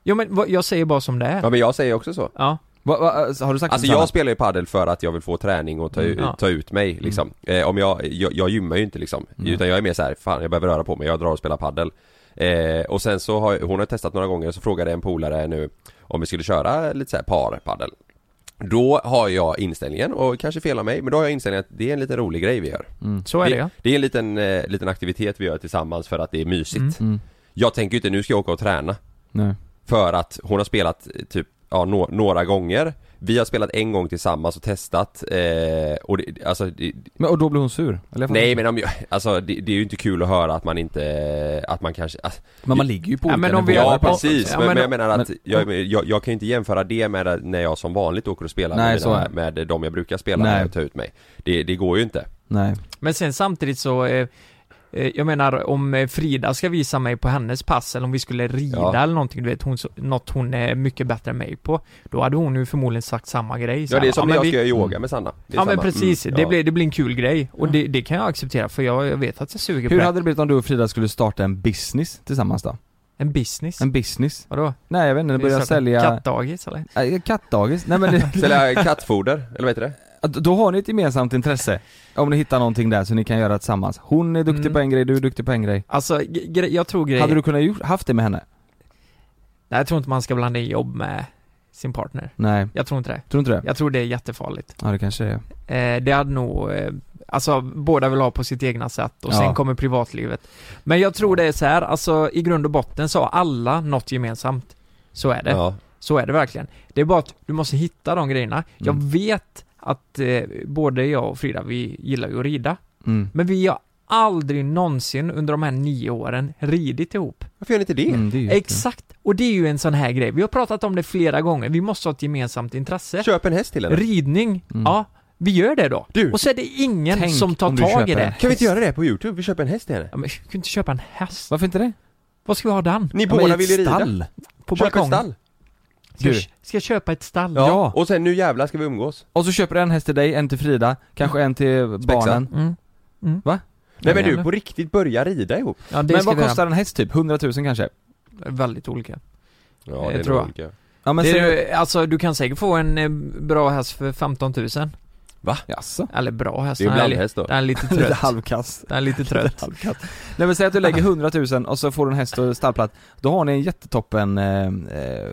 Speaker 4: Ja men vad, jag säger bara som det är
Speaker 2: Ja men jag säger också så.
Speaker 4: Ja
Speaker 3: Har du sagt
Speaker 2: Alltså
Speaker 3: till Sanna?
Speaker 2: jag spelar ju padel för att jag vill få träning och ta,
Speaker 3: Mm. Ja.
Speaker 2: ta ut mig liksom. Eh, om jag, jag, jag gymmar ju inte liksom.
Speaker 3: Mm.
Speaker 2: Utan jag är mer så här, fan jag behöver röra på mig, jag drar och spelar padel. Eh, och sen så har hon har testat några gånger, så frågade en polare nu om vi skulle köra lite så här par padel. Då har jag inställningen, och kanske fel av mig, men då har jag inställningen att det är en liten rolig grej vi gör.
Speaker 4: Så är det,
Speaker 2: det
Speaker 4: ja.
Speaker 2: Det är en liten, eh, liten aktivitet vi gör tillsammans för att det är mysigt.
Speaker 3: Mm. Mm.
Speaker 2: Jag tänker ju inte, nu ska jag åka och träna.
Speaker 3: Nej.
Speaker 2: För att hon har spelat eh, typ, ja, nå- några gånger Vi har spelat en gång tillsammans och testat eh, och det, alltså, det,
Speaker 3: Men, och då blir hon sur? Eller jag fattar
Speaker 2: Nej
Speaker 3: inte.
Speaker 2: men om jag, alltså det, det är ju inte kul att höra att man inte, att man kanske alltså,
Speaker 3: Men man ligger ju på
Speaker 2: ja,
Speaker 3: olika
Speaker 2: men om vi
Speaker 3: nivåer
Speaker 2: Ja
Speaker 3: på-
Speaker 2: precis,
Speaker 3: Ja,
Speaker 2: men,
Speaker 3: men-
Speaker 2: men jag menar att
Speaker 3: men-
Speaker 2: jag, jag, jag kan ju inte jämföra det med när jag som vanligt åker och spelar
Speaker 3: Nej,
Speaker 2: med,
Speaker 3: så är det.
Speaker 2: mina, med de jag brukar spela
Speaker 3: Nej.
Speaker 2: med och ta ut mig Det, det går ju inte
Speaker 3: Nej.
Speaker 4: Men sen samtidigt så eh, Eh, Jag menar om eh, Frida ska visa mig på hennes pass eller om vi skulle rida
Speaker 2: Ja.
Speaker 4: eller någonting, du vet, hon, så- något hon är mycket bättre än mig på. Då hade hon ju förmodligen sagt samma grej. Så
Speaker 2: Ja Mm. det är
Speaker 4: här,
Speaker 2: som när jag
Speaker 4: men
Speaker 2: ska
Speaker 4: vi-
Speaker 2: göra yoga med Sanna. Det är
Speaker 4: Ja men
Speaker 2: samma.
Speaker 4: precis,
Speaker 2: Mm,
Speaker 4: det,
Speaker 2: ja.
Speaker 4: blir, det blir en kul grej. Och det, det kan jag acceptera för jag, jag vet att jag suger på
Speaker 3: Hur
Speaker 4: det.
Speaker 3: hade det blivit om du och Frida skulle starta en business tillsammans då?
Speaker 4: En business?
Speaker 3: En business?
Speaker 4: Vadå?
Speaker 3: Nej jag vet inte,
Speaker 4: Det är
Speaker 3: börja
Speaker 4: så-
Speaker 3: sälja...
Speaker 4: kattdagis, eller?
Speaker 3: Nej, kattdagis? Nej men... det-
Speaker 2: Sälja kattfoder, eller vad heter det?
Speaker 3: Ja, d- Då har ni ett gemensamt intresse. Om ni hittar någonting där så ni kan göra tillsammans. Hon är duktig
Speaker 4: Mm.
Speaker 3: på en grej, du är duktig på en grej.
Speaker 4: Alltså, ge- gre- jag tror grejer...
Speaker 3: Hade du kunnat gjort, haft det med henne?
Speaker 4: Nej, jag tror inte man ska blanda in jobb med sin partner.
Speaker 3: Nej.
Speaker 4: Jag tror inte det.
Speaker 3: Tror inte det?
Speaker 4: Jag tror det är jättefarligt.
Speaker 3: Ja det kanske är.
Speaker 4: Eh, det hade nog, eh, alltså båda vill ha på sitt egna sätt och
Speaker 3: Ja.
Speaker 4: sen kommer privatlivet. Men jag tror det är så här, alltså i grund och botten så har alla något gemensamt. Så är det.
Speaker 2: Ja.
Speaker 4: Så är det verkligen. Det är bara att du måste hitta de grejerna.
Speaker 3: Mm.
Speaker 4: Jag vet att eh, både jag och Frida, vi gillar ju att rida.
Speaker 3: Mm.
Speaker 4: Men vi har aldrig någonsin under de här nio åren ridit ihop.
Speaker 2: Varför gör ni inte det?
Speaker 3: Mm, det är ju-
Speaker 4: Exakt! Och det är ju en sån här grej. Vi har pratat om det flera gånger. Vi måste ha ett gemensamt intresse.
Speaker 2: Köp en häst till henne.
Speaker 4: Ridning.
Speaker 3: Mm.
Speaker 4: Ja, vi gör det då.
Speaker 2: Du,
Speaker 4: och så är det ingen
Speaker 2: tänk
Speaker 4: som tar
Speaker 2: om du
Speaker 4: tag i
Speaker 2: köper en
Speaker 4: det.
Speaker 2: häst. Kan vi inte göra det på YouTube? Vi köper en häst till henne.
Speaker 4: Ja, men vi kan inte köpa en häst.
Speaker 3: Varför inte det?
Speaker 4: Vad ska vi ha den?
Speaker 2: Ni båda vill ju rida.
Speaker 4: På
Speaker 2: Köp ett
Speaker 4: balkongen.
Speaker 2: stall.
Speaker 4: Ska,
Speaker 3: Du.
Speaker 4: jag- ska jag köpa ett stall?
Speaker 3: Ja.
Speaker 2: Och sen nu jävlar ska vi umgås.
Speaker 3: Och så köper du en häst till dig, en till Frida, kanske en till barnen.
Speaker 4: Mm. Mm.
Speaker 3: Va?
Speaker 2: Nej men du, på riktigt börja rida ihop.
Speaker 4: Ja, det
Speaker 3: men
Speaker 4: ska
Speaker 3: vad
Speaker 4: vi göra.
Speaker 3: kostar en häst typ? 100 000 kanske?
Speaker 4: Väldigt olika.
Speaker 2: Ja,
Speaker 4: Eh,
Speaker 2: det är
Speaker 4: tror
Speaker 2: nog
Speaker 4: jag.
Speaker 2: olika.
Speaker 3: Ja, men
Speaker 4: det är,
Speaker 3: ser
Speaker 4: ju- alltså du kan säkert få en eh, bra häst för 15 000.
Speaker 2: Va?
Speaker 3: Jaså?
Speaker 4: Eller bra häst.
Speaker 3: Det är ju
Speaker 4: den li-
Speaker 3: blandhäst då.
Speaker 4: Den är lite
Speaker 3: Lite
Speaker 4: trött.
Speaker 3: halvkass.
Speaker 4: Den är lite trött.
Speaker 3: Nej men säg att du lägger 100 000 och så får du en häst och stallplats. Då har ni en jättetoppen, eh, eh,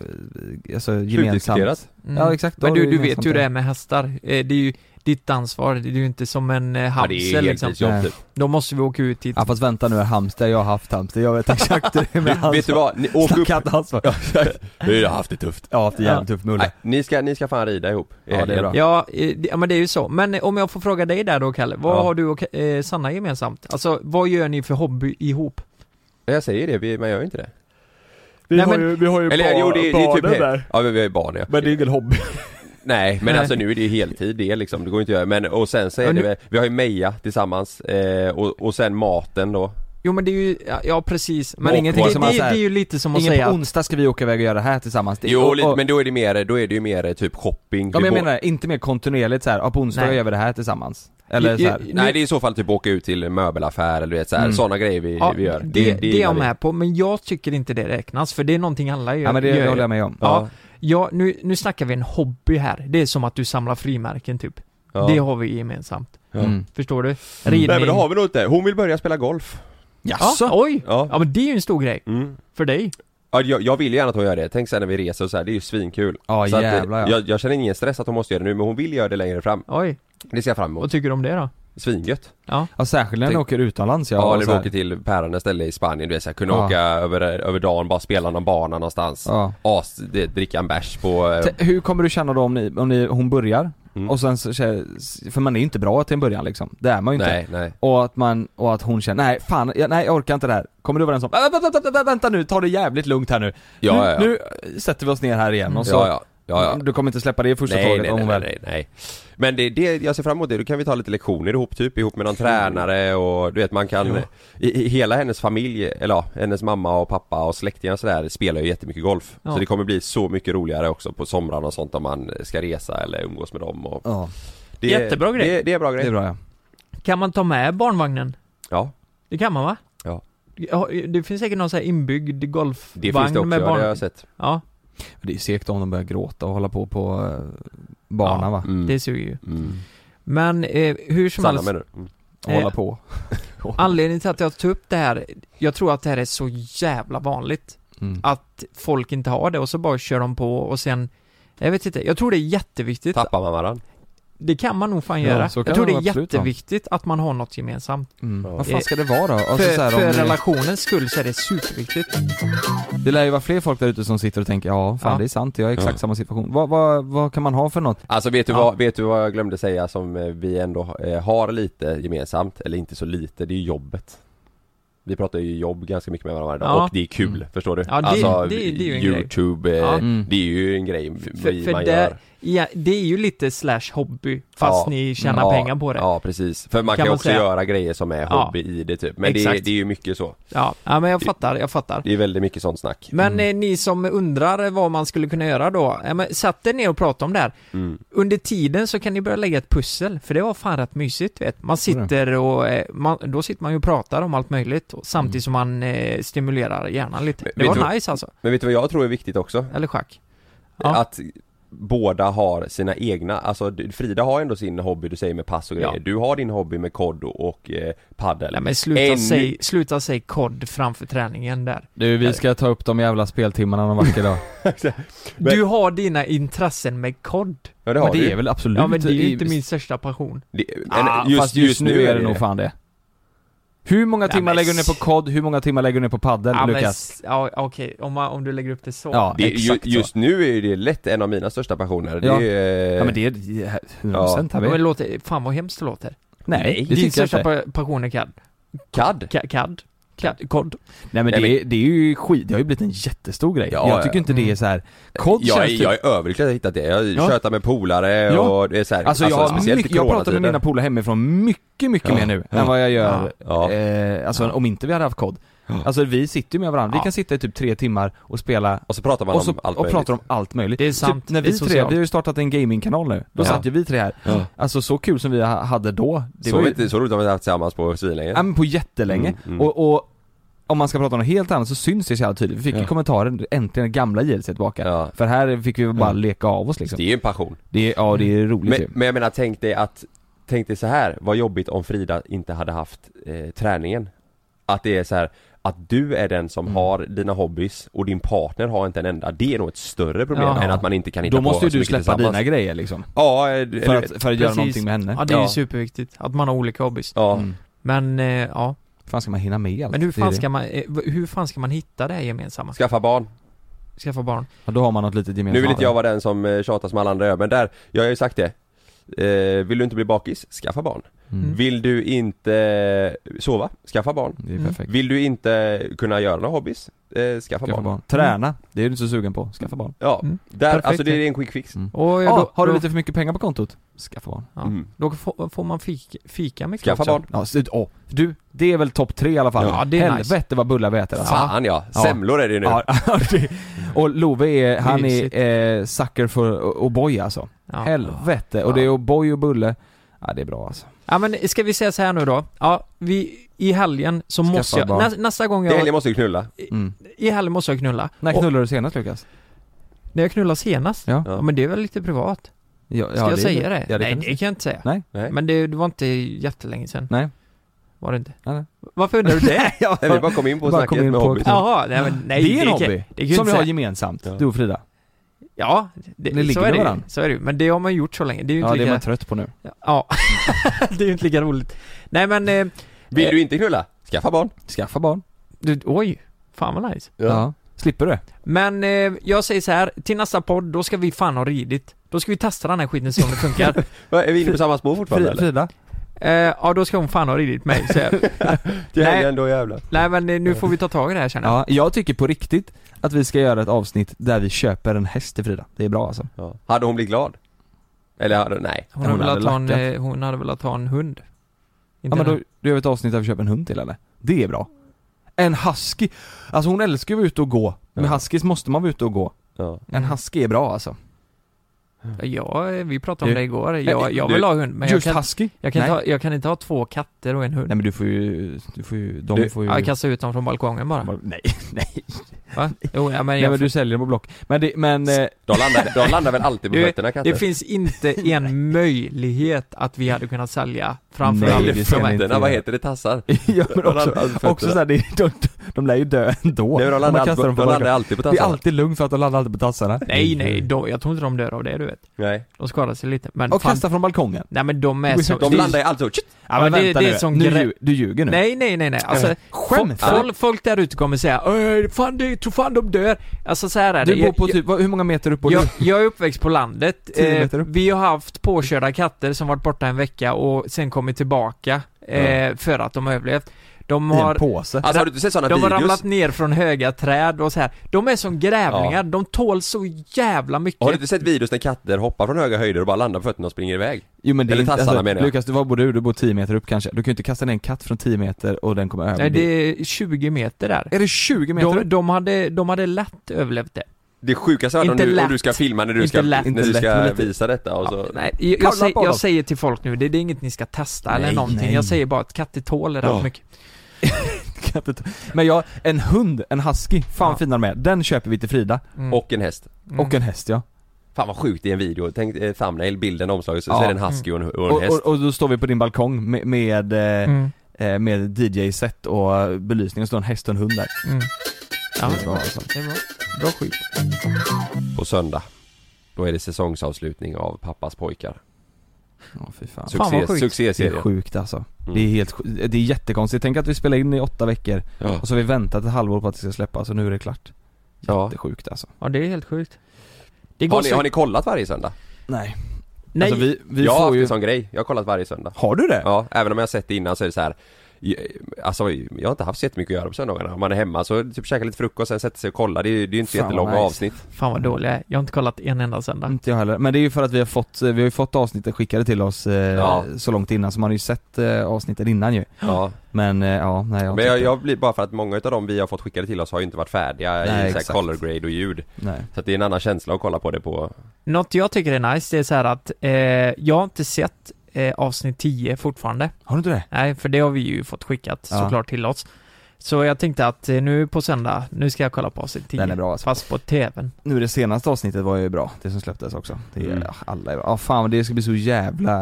Speaker 3: alltså gemensamt.
Speaker 4: Mm.
Speaker 3: Ja exakt. Då
Speaker 4: Men
Speaker 3: har
Speaker 4: du,
Speaker 3: ni
Speaker 4: du vet
Speaker 3: gemensamt
Speaker 4: ju det här med hästar. Eh, Det är ju ditt ansvar. Det är ju inte som en eh,
Speaker 3: Ja, det är
Speaker 4: hamster
Speaker 3: helt
Speaker 4: liksom.
Speaker 3: ditt jobb, Nej. typ.
Speaker 4: Då måste vi åka ut hit.
Speaker 3: Ja fast vänta nu här, hamster, jag har haft hamster, jag vet exakt hur det är med
Speaker 2: Du, vet du vad? Ni, åk upp.
Speaker 3: Snacka inte ansvar.
Speaker 2: Ja, exakt. Vi har haft det tufft.
Speaker 3: Ja, haft det jävligt tufft med Ulla.
Speaker 2: Nej, ni ska, ni ska fan rida ihop. i
Speaker 3: Ja, det är
Speaker 2: helgen.
Speaker 3: bra.
Speaker 4: Ja, eh, det- ja, men det är ju så. Men eh, om jag får fråga dig där då Kalle, vad
Speaker 2: Ja.
Speaker 4: har du och eh, Sanna gemensamt? Alltså vad gör ni för hobby ihop?
Speaker 2: Jag säger det, vi, man gör ju inte det.
Speaker 4: Vi Nej, har men-
Speaker 10: ju- vi har ju
Speaker 2: Eller,
Speaker 10: bar-
Speaker 2: jo, det, är- det är typ
Speaker 10: barnen
Speaker 2: helt-
Speaker 10: där.
Speaker 2: Ja, men vi har ju barn ja.
Speaker 10: Men det är ingen hobby.
Speaker 2: Nej, men
Speaker 10: Nej.
Speaker 2: alltså nu är det ju heltid det liksom, det går inte att göra. Men och sen så är
Speaker 4: Ja, nu-
Speaker 2: det väl, vi har ju Meja tillsammans eh, och, och sen maten då.
Speaker 4: Jo men det är ju, ja, ja precis. Men
Speaker 2: Och
Speaker 4: ingenting,
Speaker 2: vad
Speaker 4: det,
Speaker 2: som
Speaker 4: det,
Speaker 2: man
Speaker 4: det,
Speaker 2: säger.
Speaker 4: är ju lite som att
Speaker 3: Ingen
Speaker 4: säga
Speaker 3: på
Speaker 4: att
Speaker 3: onsdag ska vi åka iväg och göra det här tillsammans. Det-
Speaker 2: Jo,
Speaker 3: och-
Speaker 2: lite,
Speaker 3: och-
Speaker 2: men då är det mer, då är det ju mer eh, typ shopping.
Speaker 3: Ja men
Speaker 2: Typ
Speaker 3: jag
Speaker 2: å-
Speaker 3: menar det, inte mer kontinuerligt såhär, ja på onsdag
Speaker 2: Nej.
Speaker 3: gör vi det här tillsammans. Eller
Speaker 2: Ju- ju-
Speaker 3: såhär.
Speaker 2: Nej det är i så fall typ åka ut till möbelaffär eller du vet såhär,
Speaker 3: Mm.
Speaker 2: sådana grejer vi,
Speaker 4: Ja,
Speaker 2: vi gör.
Speaker 4: det, det, är
Speaker 2: gillar
Speaker 4: jag
Speaker 2: vi.
Speaker 4: med på, men jag tycker inte det räknas för det är någonting alla gör.
Speaker 3: Ja, men det
Speaker 4: gör.
Speaker 3: håller jag med om.
Speaker 4: Ja,
Speaker 3: Ja.
Speaker 4: ja nu, nu snackar vi en hobby här. Det är som att du samlar frimärken typ.
Speaker 2: Ja.
Speaker 4: Det har vi gemensamt.
Speaker 2: Ja. Mm.
Speaker 4: Förstår du?
Speaker 2: Nej men det har vi nog inte. Hon vill börja spela golf.
Speaker 4: Jaså? Ja, oj!
Speaker 2: Ja. Mm.
Speaker 4: ja men det är ju en stor grej. För dig.
Speaker 2: Ja, jag, jag vill gärna att hon gör det. Tänk sen när vi reser och så här, det är ju svinkul.
Speaker 3: Ja,
Speaker 2: så att, eh,
Speaker 3: jävlar, ja.
Speaker 2: jag, jag känner ingen stress att hon måste göra det nu men hon vill göra det längre fram.
Speaker 4: Oj.
Speaker 2: Det ser jag fram emot.
Speaker 4: Vad tycker du om det då?
Speaker 2: Svingött.
Speaker 4: Ja.
Speaker 3: Ja särskilt när ni
Speaker 2: Tänk-
Speaker 3: åker utomlands ja.
Speaker 2: Ja,
Speaker 3: och
Speaker 2: eller
Speaker 3: så
Speaker 2: vi
Speaker 3: här.
Speaker 2: åker till pärande ställe i Spanien, du vet såhär, kunna
Speaker 3: Ja.
Speaker 2: åka över, över dagen, bara spela någon bana någonstans.
Speaker 3: Ja.
Speaker 2: As, det, dricka en bärs på... eh, Mm.
Speaker 3: T- Hur kommer du känna då om, ni, om ni, hon börjar? Och sen så, kä- för man är ju inte bra till en början liksom, det är man ju inte.
Speaker 2: Nej, nej.
Speaker 3: Och att man, och att hon känner, nej fan, jag, nej jag orkar inte det här. Kommer du vara den som, "Vä- vä- vä- vä- vä- vänta nu, ta det jävligt lugnt här nu.
Speaker 2: Ja,
Speaker 3: nu,
Speaker 2: ja, ja.
Speaker 3: nu sätter vi oss ner här igen och så,
Speaker 2: Ja, ja. Ja, ja.
Speaker 3: du kommer inte släppa det i första
Speaker 2: nej,
Speaker 3: taget
Speaker 2: nej,
Speaker 3: om
Speaker 2: nej,
Speaker 3: hon väl.
Speaker 2: nej, nej. Men det, det, jag ser fram emot det, då kan vi ta lite lektioner ihop typ, ihop med någon tränare och du vet man kan i, i, Hela hennes familj, eller ja, hennes mamma och pappa och släktingar och sådär spelar ju jättemycket golf.
Speaker 3: Ja.
Speaker 2: Så det kommer bli så mycket roligare också på somrarna och sånt om man ska resa eller umgås med dem och...
Speaker 3: Ja.
Speaker 2: Det,
Speaker 4: Jättebra grej.
Speaker 2: Det, det är bra grej.
Speaker 3: Det är bra ja.
Speaker 4: Kan man ta med barnvagnen?
Speaker 2: Ja.
Speaker 4: Det kan man va?
Speaker 2: Ja.
Speaker 4: Ja, Det finns säkert någon sån här inbyggd golfvagn
Speaker 2: Det finns det också,
Speaker 4: med
Speaker 2: ja,
Speaker 4: barn...
Speaker 2: det har jag sett. Mm.
Speaker 4: Ja,
Speaker 3: Det är ju segt om de börjar gråta och hålla på på eh, barnen va?
Speaker 2: Mm.
Speaker 4: det suger ju. Men eh, hur som
Speaker 3: Sanna
Speaker 4: helst
Speaker 3: menar du? Mm. Och
Speaker 4: Eh.
Speaker 3: hålla på.
Speaker 4: Anledningen till att jag tog upp det här Jag tror att det här är så jävla vanligt
Speaker 3: Mm.
Speaker 4: Att folk inte har det och så bara kör de på och sen Jag vet inte, jag tror det är jätteviktigt
Speaker 2: Tappar man varandra?
Speaker 4: Det kan man nog fan
Speaker 3: Ja,
Speaker 4: göra
Speaker 3: så kan
Speaker 4: Jag tror det
Speaker 3: det
Speaker 4: är
Speaker 3: absolut vara.
Speaker 4: jätteviktigt att man har något gemensamt
Speaker 3: Mm. Vad
Speaker 4: Eh,
Speaker 3: fan ska det vara då? Alltså,
Speaker 4: för
Speaker 3: så här, om
Speaker 4: för
Speaker 3: ni-
Speaker 4: relationens skull så är det superviktigt
Speaker 3: Det lär ju vara fler folk där ute som sitter och tänker, ja fan
Speaker 4: Ja.
Speaker 3: det är sant, jag är i exakt
Speaker 2: Ja.
Speaker 3: samma situation. Vad, vad, vad kan man ha för något?
Speaker 2: Alltså vet du,
Speaker 3: Ja.
Speaker 2: vad, vet du vad jag glömde säga som eh, vi ändå eh, har lite gemensamt, eller inte så lite, det är ju jobbet Vi pratar ju jobb ganska mycket med varandra varje dag
Speaker 4: Ja. Mm.
Speaker 2: och det är kul, förstår du?
Speaker 4: Ja, det-
Speaker 2: alltså
Speaker 4: det- det är ju en grej.
Speaker 3: Mm.
Speaker 2: Youtube, eh,
Speaker 4: Ja. Mm.
Speaker 2: det är ju en grej vi,
Speaker 4: För, för
Speaker 2: man
Speaker 4: där,
Speaker 2: gör
Speaker 4: Ja, det är ju lite slash hobby, fast
Speaker 2: Ja.
Speaker 4: ni tjänar
Speaker 2: Ja,
Speaker 4: pengar på det.
Speaker 2: Ja precis, för man
Speaker 4: Kan
Speaker 2: kan,
Speaker 4: man
Speaker 2: också
Speaker 4: säga.
Speaker 2: göra grejer som är
Speaker 4: Ja.
Speaker 2: hobby i det typ Men det,
Speaker 4: Exakt.
Speaker 2: är- det är ju mycket så
Speaker 4: Ja, ja men jag fattar, jag fattar.
Speaker 2: Det är väldigt mycket sånt snack
Speaker 4: Men eh, ni som undrar vad man skulle kunna göra då, ja, men satt er ner och prata om det här.
Speaker 2: Mm.
Speaker 4: Under tiden så kan ni börja lägga ett pussel, för det var fan rätt mysigt vet. Man sitter och, eh, man, då sitter man ju och pratar om allt möjligt, och samtidigt som man eh, stimulerar hjärnan lite. Det
Speaker 2: Mm. vet du
Speaker 4: var
Speaker 2: vad-
Speaker 4: nice alltså.
Speaker 2: Men vet du vad jag tror är viktigt också?
Speaker 4: Eller schack Ja.
Speaker 2: Att båda har sina egna, alltså du- Frida har ändå sin hobby du säger med pass och grejer
Speaker 4: Ja.
Speaker 2: Du har din hobby med kod och eh, paddel
Speaker 4: Nej men sluta
Speaker 2: Ännu-
Speaker 4: säg, sluta säg kod framför träningen där.
Speaker 3: Du, vi ska ta upp de jävla speltimmarna någon vacker dag.
Speaker 4: Du har dina intressen med kod.
Speaker 2: Ja, det har
Speaker 3: Men det
Speaker 2: du.
Speaker 3: är väl absolut-
Speaker 4: Ja men det är ju
Speaker 3: i-
Speaker 4: inte min största passion.
Speaker 2: Det- men
Speaker 3: Ah, fast just, nu är det nog fan det. Hur många
Speaker 4: Ja,
Speaker 3: timmar
Speaker 4: men
Speaker 3: lägger du ner på kod? Hur många timmar lägger du ner på paddel,
Speaker 4: Ja, men
Speaker 3: Lukas?
Speaker 4: s- ja okej, om, man- om du lägger upp det så.
Speaker 3: Ja,
Speaker 2: det, är ju,
Speaker 3: exakt så.
Speaker 2: Just nu är ju det lätt en av mina största passioner
Speaker 3: Ja.
Speaker 2: det är,
Speaker 3: Ja, men det är 100% här med.
Speaker 4: Men låter, fan vad hemskt det låter.
Speaker 3: Nej, det tycker
Speaker 4: Din
Speaker 3: jag
Speaker 4: största
Speaker 3: inte.
Speaker 4: pa- passion är CAD.
Speaker 2: CAD?
Speaker 4: CAD. CAD. COD.
Speaker 3: Nej men, det, är- det är ju skit, det har ju blivit en jättestor grej.
Speaker 2: Ja,
Speaker 3: jag tycker
Speaker 2: ja.
Speaker 3: inte det är så här. kod
Speaker 2: jag,
Speaker 3: känns
Speaker 2: är,
Speaker 3: typ-
Speaker 2: jag är överlycklig att jag hittat det, jag
Speaker 3: Ja.
Speaker 2: tjötar med polare
Speaker 3: Ja.
Speaker 2: och det är så här,
Speaker 3: Alltså, jag, har
Speaker 2: speciellt i
Speaker 3: mycket, jag pratar med
Speaker 2: coronatider.
Speaker 3: mina polare hemifrån mycket, mycket
Speaker 2: Ja.
Speaker 3: mer nu
Speaker 2: Ja.
Speaker 3: än vad jag gör,
Speaker 2: Ja.
Speaker 3: Eh, alltså om inte vi hade haft kod. Alltså vi sitter ju med varandra, vi
Speaker 2: Ja.
Speaker 3: kan sitta i typ tre timmar och spela
Speaker 2: Och så pratar man
Speaker 3: och så,
Speaker 2: om allt
Speaker 3: och
Speaker 2: möjligt.
Speaker 3: pratar om allt möjligt.
Speaker 2: Det är sant.
Speaker 3: Typ när
Speaker 2: Det är
Speaker 3: vi tre,
Speaker 2: socialt.
Speaker 3: vi har ju startat en gamingkanal nu, då
Speaker 2: Ja.
Speaker 3: satt ju vi tre här.
Speaker 2: Ja.
Speaker 3: Alltså så kul som vi ha- hade då, det
Speaker 2: så,
Speaker 3: var ju,
Speaker 2: inte, så roligt har vi inte haft tillsammans på svinlänge
Speaker 3: ja men på jättelänge.
Speaker 2: Mm, mm.
Speaker 3: Och, och om man ska prata om något helt annat så syns det så jävla tydligt. Vi fick ju
Speaker 2: Ja.
Speaker 3: kommentarer, äntligen det gamla JLC tillbaka. För här fick vi bara
Speaker 2: Ja.
Speaker 3: leka av oss liksom.
Speaker 2: Det är ju en passion
Speaker 3: Det är, ja det är roligt
Speaker 2: men,
Speaker 3: ju.
Speaker 2: men jag menar tänk dig att Tänk dig så här, vad jobbigt om Frida inte hade haft eh, träningen Att det är så här att du är den
Speaker 3: Mm.
Speaker 2: som har dina hobbys och din partner har inte en enda Det är nog ett större problem
Speaker 3: Ja.
Speaker 2: än att man inte kan hitta
Speaker 3: Då måste
Speaker 2: på
Speaker 3: ju
Speaker 2: så
Speaker 3: du
Speaker 2: mycket
Speaker 3: släppa
Speaker 2: tillsammans.
Speaker 3: dina grejer liksom.
Speaker 2: Ja, eh,
Speaker 3: För
Speaker 2: eller-
Speaker 3: att, för att göra någonting med henne.
Speaker 4: Ja det är ju superviktigt, att man har olika hobbys.
Speaker 2: Ja.
Speaker 3: Mm.
Speaker 4: Men, eh, ja.
Speaker 3: Hur fan ska man hinna med allt?
Speaker 4: Men hur
Speaker 3: Det är
Speaker 4: fan
Speaker 3: det.
Speaker 4: ska man, eh, v- hur fan ska man hitta det här gemensamma?
Speaker 2: Skaffa barn
Speaker 4: Skaffa barn.
Speaker 3: Ja, då har man något litet gemensamt.
Speaker 2: Nu vill inte jag vara den som eh, tjatar som alla andra gör, men där, jag har ju sagt det eh, Vill du inte bli bakis? Skaffa barn
Speaker 3: Mm.
Speaker 2: Vill du inte eh, sova? Skaffa barn
Speaker 3: Det är perfekt.
Speaker 2: Vill du inte kunna göra några hobbys? Eh, skaffa,
Speaker 3: Skaffa barn.
Speaker 2: barn.
Speaker 3: Träna, det är du inte så sugen på. Skaffa barn.
Speaker 2: Ja,
Speaker 4: Mm.
Speaker 2: där,
Speaker 3: Perfekt,
Speaker 2: alltså det
Speaker 3: ja.
Speaker 2: är en quick fix
Speaker 4: Och,
Speaker 3: Ja,
Speaker 4: då,
Speaker 3: har du
Speaker 4: då,
Speaker 3: lite för mycket pengar på kontot? Skaffa barn.
Speaker 4: Mm. Ja.
Speaker 2: Mm.
Speaker 4: Då får, får man fika, fika mycket
Speaker 3: Skaffa
Speaker 4: också.
Speaker 3: barn. Ja, så, åh, du, det är väl topp tre i alla fall?
Speaker 4: Ja, det är
Speaker 3: Helvete vad bullar vi äter alltså.
Speaker 2: Fan, ja. Semlor är det ju nu.
Speaker 3: Ja, det- och Love är, han
Speaker 2: Mysigt. Ah.
Speaker 3: är eh, sucker för o- O'boy alltså. Helvete. Och det är O'boy och bulle. Ja, det är bra alltså.
Speaker 4: Ja men ska vi säga så här nu då? Ja, vi, i helgen så måste jag,
Speaker 3: barn.
Speaker 4: nä, nästa gång
Speaker 2: Det helgen
Speaker 4: jag,
Speaker 2: måste ju knulla
Speaker 3: Mm.
Speaker 4: i helgen måste jag knulla.
Speaker 3: När
Speaker 4: Och-
Speaker 3: knullade du senast Lukas?
Speaker 4: När jag knullade senast?
Speaker 3: Ja.
Speaker 4: ja men det är väl lite privat?
Speaker 3: Ja,
Speaker 4: Ska
Speaker 3: ja,
Speaker 4: jag
Speaker 3: det-
Speaker 4: säga det?
Speaker 3: ja, det
Speaker 4: Nej
Speaker 3: kan du
Speaker 4: det kan jag inte säga.
Speaker 3: Nej.
Speaker 4: Men det, det var inte jättelänge sedan.
Speaker 3: Nej.
Speaker 4: Var det inte?
Speaker 3: Nej, nej.
Speaker 4: Varför undrar du det?
Speaker 3: Jag
Speaker 2: Nej, vi bara kom in på snacket med hobby.
Speaker 4: Jaha, nej men nej.
Speaker 3: Det är en
Speaker 4: kan-
Speaker 3: hobby.
Speaker 4: det kan jag
Speaker 3: som
Speaker 4: inte
Speaker 3: vi har
Speaker 4: säga.
Speaker 3: gemensamt, du och Frida.
Speaker 4: Ja, det,
Speaker 3: Ni ligger
Speaker 4: så är
Speaker 3: med
Speaker 4: det ju.
Speaker 3: varandra.
Speaker 4: Så är det ju. Men det har man gjort så länge. Det är ju
Speaker 3: Ja,
Speaker 4: inte
Speaker 3: det är
Speaker 4: lika...
Speaker 3: man trött på nu.
Speaker 4: Ja. det är ju inte lika roligt. Nej men... Eh,
Speaker 2: Vill du inte knulla? Skaffa barn
Speaker 3: Skaffa barn.
Speaker 4: Du, oj, fan vad nice.
Speaker 3: Ja. Slipper du?
Speaker 4: Men eh, jag säger så här, till nästa podd, då ska vi fan ha ridit. Då ska vi testa den här skiten och se om det funkar.
Speaker 2: Va, Är vi inne på samma spår fortfarande eller?
Speaker 3: Frida?
Speaker 4: Eh, ja, då ska hon fan ha ridit mig, säger jag.
Speaker 2: Till
Speaker 4: Nej.
Speaker 2: helgen då jävlar
Speaker 4: Nej men eh, nu får vi ta tag i det här känner jag.
Speaker 3: Ja, jag tycker på riktigt att vi ska göra ett avsnitt där vi köper en häst till Frida. Det är bra alltså.
Speaker 2: Ja. Hade hon blivit glad? Eller hade, nej
Speaker 4: Hon, hade velat ha en,
Speaker 3: lackat.
Speaker 4: eh, hon hade velat ha en hund.
Speaker 3: Ja
Speaker 4: Inte
Speaker 3: men
Speaker 4: en-
Speaker 3: då, då gör vi ett avsnitt där vi köper en hund till henne. Det är bra. En husky. Alltså hon älskar ju att vara ute och gå. Med huskies måste man vara ute och gå. En
Speaker 4: Mm.
Speaker 3: husky är bra alltså.
Speaker 4: Ja, eh, vi pratade om
Speaker 3: Du-
Speaker 4: det igår.
Speaker 3: Nej,
Speaker 4: Jag,
Speaker 3: du-
Speaker 4: jag vill ha hund men
Speaker 3: just
Speaker 4: jag kan,
Speaker 3: husky?
Speaker 4: jag, kan inte
Speaker 3: Nej.
Speaker 4: ha, jag kan inte ha två katter och en hund.
Speaker 3: Nej men du får ju, du får ju, de
Speaker 4: Du-
Speaker 3: får ju...
Speaker 4: Ja, Jag kastar ut dem från balkongen bara.
Speaker 3: Nej, nej.
Speaker 4: Va? Jo, ja, men
Speaker 3: Nej
Speaker 4: jag-
Speaker 3: men du säljer dem på Block. Men det, men... eh,
Speaker 2: De landar, de landar väl alltid på
Speaker 4: Du,
Speaker 2: fötterna katter?
Speaker 4: Det finns inte en möjlighet att vi hade kunnat sälja framförallt
Speaker 2: Nej, det
Speaker 4: de här-
Speaker 2: fötterna, vad heter det? Tassar?
Speaker 3: ja men
Speaker 2: De landar
Speaker 3: också,
Speaker 2: alltid på
Speaker 3: också
Speaker 2: fötterna.
Speaker 3: såhär, de, de, de lär ju dö ändå.
Speaker 2: Nej, men de
Speaker 3: Om
Speaker 2: landar
Speaker 3: man
Speaker 2: alltid
Speaker 3: kastar
Speaker 2: på-
Speaker 3: dem på
Speaker 2: de landar Mm.
Speaker 3: balkongen.
Speaker 2: alltid på
Speaker 3: Det är
Speaker 2: tassarna.
Speaker 3: alltid lugnt för att de landar alltid på tassarna.
Speaker 4: Nej nej, de, jag tror inte de dör av det du vet.
Speaker 2: Nej.
Speaker 4: De skadar sig lite. Men
Speaker 3: Och
Speaker 4: fan-
Speaker 3: kasta från balkongen.
Speaker 4: Nej men de är så...
Speaker 2: De landar ju alltid så...
Speaker 3: Ja, men
Speaker 4: det,
Speaker 3: vänta
Speaker 4: det är
Speaker 3: nu.
Speaker 4: som
Speaker 3: Nu
Speaker 4: gre-
Speaker 3: ljug- du ljuger nu.
Speaker 4: Nej nej nej nej, alltså,
Speaker 3: Nej, skämtar
Speaker 4: fol-
Speaker 3: du?
Speaker 4: fol- folk där ute kommer säga "Öh, fan det, tror fan de dör. Alltså så här är det.
Speaker 3: Du bor
Speaker 4: Jag-
Speaker 3: på
Speaker 4: jag-
Speaker 3: typ, vad- hur många meter upp bor
Speaker 4: Jag,
Speaker 3: du?
Speaker 4: jag är uppväxt på landet. Eh,
Speaker 3: Tio meter upp.
Speaker 4: vi har haft påkörda katter som varit borta en vecka och sen kommit tillbaka eh, för att de har överlevt. De
Speaker 3: I en
Speaker 4: har,
Speaker 3: påse. Alltså, har du inte sett såna
Speaker 4: De har
Speaker 3: videos?
Speaker 4: ramlat ner från höga träd och så här. De är som grävlingar,
Speaker 2: Ja.
Speaker 4: de tål så jävla mycket.
Speaker 2: Har du inte sett videos när katter hoppar från höga höjder och bara landar på fötterna och springer iväg?
Speaker 3: Jo men det
Speaker 2: Eller
Speaker 3: är inte,
Speaker 2: tassarna
Speaker 3: alltså,
Speaker 2: menar jag.
Speaker 3: Lukas, du var bor du? Du bor 10 meter upp kanske. Du kan ju inte kasta ner en katt från 10 meter och den kommer över.
Speaker 4: Nej, det är 20 meter där.
Speaker 3: Är det 20 meter
Speaker 4: De,
Speaker 3: upp?
Speaker 4: de, hade, de hade lätt överlevt det.
Speaker 2: Det sjukaste jag hört om
Speaker 4: Inte
Speaker 2: du, om du
Speaker 4: lätt.
Speaker 2: ska filma när du
Speaker 4: Inte
Speaker 2: ska,
Speaker 4: lätt.
Speaker 2: när du
Speaker 4: Inte lätt,
Speaker 2: ska
Speaker 4: men lite-
Speaker 2: visa detta och
Speaker 3: Alltså,
Speaker 2: så...
Speaker 4: Nej, jag, jag, säger, jag säger till folk nu, det, det är inget ni ska testa eller
Speaker 3: Nej,
Speaker 4: någonting.
Speaker 3: nej.
Speaker 4: Jag säger bara att katter tål rätt
Speaker 3: Ja.
Speaker 4: mycket.
Speaker 3: katter tå- Men jag, en hund, en husky, fan
Speaker 2: Ja.
Speaker 3: fina de är. Den köper vi till Frida.
Speaker 4: Mm.
Speaker 2: Och en häst.
Speaker 3: Och en häst ja.
Speaker 2: Fan vad sjukt i en video, tänk eh, thumbnail, bilden, omslaget, så,
Speaker 3: Ja.
Speaker 2: så är det en husky och en, och en
Speaker 3: Och,
Speaker 2: häst.
Speaker 3: och, och då står vi på din balkong med, med, eh,
Speaker 2: Mm.
Speaker 3: eh, med DJ-set och belysning och står en häst och en hund där.
Speaker 4: Mm. Ja,
Speaker 3: Det är bra, alltså.
Speaker 4: det är bra. Bra skit.
Speaker 2: På söndag, då är det säsongsavslutning av Pappas pojkar.
Speaker 3: Ja fy fan.
Speaker 2: Succé,
Speaker 3: fan vad sjukt.
Speaker 2: succéserie.
Speaker 3: Det är sjukt alltså.
Speaker 2: Mm.
Speaker 3: Det är helt sj- det är jättekonstigt. Tänk att vi spelar in i åtta veckor
Speaker 2: Ja.
Speaker 3: och så har vi väntat ett halvår på att det ska släppas och nu är det klart. Jättesjukt alltså.
Speaker 4: Ja, det är helt sjukt.
Speaker 2: har, ni, har ni kollat varje söndag?
Speaker 3: Nej.
Speaker 4: Nej.
Speaker 3: Alltså, vi, vi
Speaker 2: jag har
Speaker 3: får
Speaker 2: haft
Speaker 3: ju...
Speaker 2: en sån grej, jag har kollat varje söndag.
Speaker 3: Har du det?
Speaker 2: Ja, även om jag har sett det innan så är det så här. Alltså jag har inte haft så jättemycket att göra på söndagarna. Om man är hemma så typ käkar lite frukost, sen sätter sig och kollar. Det är ju det är ju inte så
Speaker 3: Fan,
Speaker 2: jättelånga
Speaker 3: nice.
Speaker 2: avsnitt.
Speaker 4: Fan vad dålig jag är. Jag har inte kollat en enda söndag.
Speaker 3: Inte jag heller. Men det är ju för att vi har fått, eh, vi har ju fått avsnitten skickade till oss eh,
Speaker 2: Ja.
Speaker 3: så långt innan, så man har ju sett eh, avsnitten innan ju.
Speaker 2: Ja.
Speaker 3: Men eh, ja, nej jag, har
Speaker 2: Men
Speaker 3: inte
Speaker 2: jag,
Speaker 3: sett
Speaker 2: jag blir bara för att många utav dem vi har fått skickade till oss har ju inte varit färdiga
Speaker 3: Nej,
Speaker 2: i så här
Speaker 3: exakt.
Speaker 2: color grade och ljud.
Speaker 3: Nej.
Speaker 2: Så att det är en annan känsla att kolla på det på...
Speaker 4: Något jag tycker är nice, det är så här att eh, jag har inte sett eh, avsnitt 10 fortfarande.
Speaker 3: Har du inte det?
Speaker 4: Nej, för det har vi ju fått skickat
Speaker 3: Ja.
Speaker 4: såklart till oss. Så jag tänkte att eh, nu på söndag, nu ska jag kolla på avsnitt 10.
Speaker 3: Den är bra alltså.
Speaker 4: Fast på TVn.
Speaker 3: Nu det senaste avsnittet var ju bra, det som släpptes också. Det är,
Speaker 2: Mm.
Speaker 3: ja, alla är bra. Ja fan men det ska bli så jävla,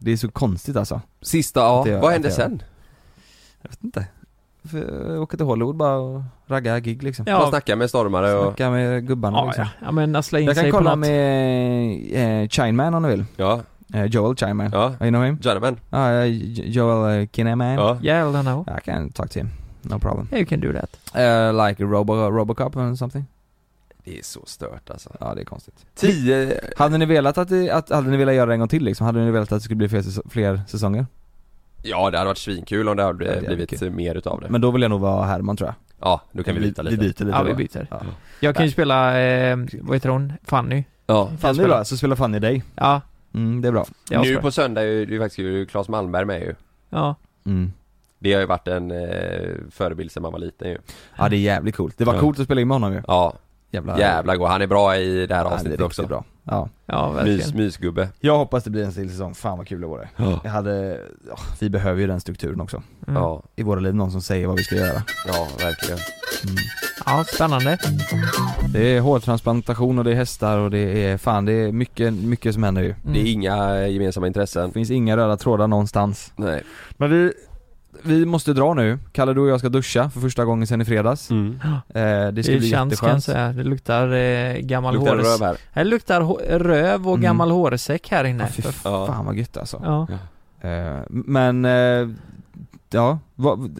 Speaker 3: det är så konstigt alltså.
Speaker 2: Sista, ja.
Speaker 3: Att jag-
Speaker 2: Vad hände
Speaker 3: att jag-
Speaker 2: sen?
Speaker 3: Jag vet inte. För Jag åker till Hollywood bara och raggar gig liksom.
Speaker 2: Ja. Man snackar med stormare och...
Speaker 3: Snacka med gubbarna
Speaker 2: Ja,
Speaker 3: liksom.
Speaker 4: Ja men näsla in
Speaker 3: Jag kan
Speaker 4: sig på
Speaker 3: kolla
Speaker 4: något.
Speaker 3: med eh, Chineman om du vill.
Speaker 2: Ja.
Speaker 3: Eh, Joel Chineman.
Speaker 2: Ja.
Speaker 3: You know him?
Speaker 2: Gentleman.
Speaker 3: Ja, eh, Jo- Joel eh, Kinnaman.
Speaker 2: Ja.
Speaker 4: Yeah, I don't know.
Speaker 3: I can talk to him. No problem.
Speaker 4: Yeah, you can do that.
Speaker 3: Uh, like Robo, Robocop or something?
Speaker 2: Det är så stört alltså.
Speaker 3: Ja det är konstigt.
Speaker 2: Tio...
Speaker 3: Hade ni velat att, det, att hade ni velat göra det en gång till liksom? Hade ni velat att det skulle bli fler, säs- fler säsonger?
Speaker 2: Ja, det hade varit svinkul om det hade
Speaker 3: det hade
Speaker 2: blivit mer utav det.
Speaker 3: Men då vill jag nog vara Herman tror jag.
Speaker 2: Ja, då kan vi byta lite.
Speaker 3: Vi byter lite
Speaker 4: Ja, vi
Speaker 3: då.
Speaker 4: byter.
Speaker 3: Ja.
Speaker 4: Jag kan ju spela, eh, vad heter hon? Fanny.
Speaker 2: Ja.
Speaker 4: Kan
Speaker 3: Fanny
Speaker 4: spela.
Speaker 3: då, så spelar Fanny dig.
Speaker 4: Ja.
Speaker 3: Mm, det är bra.
Speaker 4: Jag
Speaker 2: nu
Speaker 4: spelar.
Speaker 2: på söndag är ju det är faktiskt ju Claes Malmberg med ju.
Speaker 4: Ja.
Speaker 3: Mm.
Speaker 2: Det har ju varit en eh, förebild sedan man var liten ju.
Speaker 3: Ja det är jävligt coolt. Det var
Speaker 2: Ja.
Speaker 3: coolt att spela in med honom ju.
Speaker 2: Ja.
Speaker 3: Jävlar.
Speaker 2: Jävla god. Han är bra i det här
Speaker 3: Ja, det är
Speaker 2: avsnittet
Speaker 3: riktigt
Speaker 2: också.
Speaker 3: bra. Ja.
Speaker 4: Ja, verkligen.
Speaker 2: Mys, mysgubbe.
Speaker 3: Jag hoppas det blir en till säsong, fan vad kul det vore.
Speaker 2: Ja.
Speaker 3: Jag hade, ja, vi behöver ju den strukturen också.
Speaker 4: Mm.
Speaker 2: Ja.
Speaker 3: I våra liv, någon som säger vad vi ska göra. Mm.
Speaker 2: Ja, verkligen.
Speaker 4: Ja, spännande.
Speaker 3: Det är hårtransplantation och det är hästar och det är fan, det är mycket, mycket som händer ju.
Speaker 4: Mm.
Speaker 2: Det är inga gemensamma intressen.
Speaker 3: Det finns inga röda trådar någonstans.
Speaker 2: Nej.
Speaker 3: Men vi, vi måste dra nu. Kalle, du och jag ska duscha för första gången sen i fredags.
Speaker 4: Ja.
Speaker 3: Eh, det ska bli
Speaker 4: känns kan jag
Speaker 3: jätteskönt.
Speaker 4: säga. Det luktar eh, gammal
Speaker 2: Luktar
Speaker 4: hårs-
Speaker 2: röv här.
Speaker 4: Det luktar hå- röv och
Speaker 3: Mm.
Speaker 4: gammal hårsäck här inne.
Speaker 3: Ja, fy
Speaker 4: För
Speaker 2: Ja.
Speaker 3: Fan vad gött alltså.
Speaker 4: Ja.
Speaker 3: Eh, men, eh, ja, vad,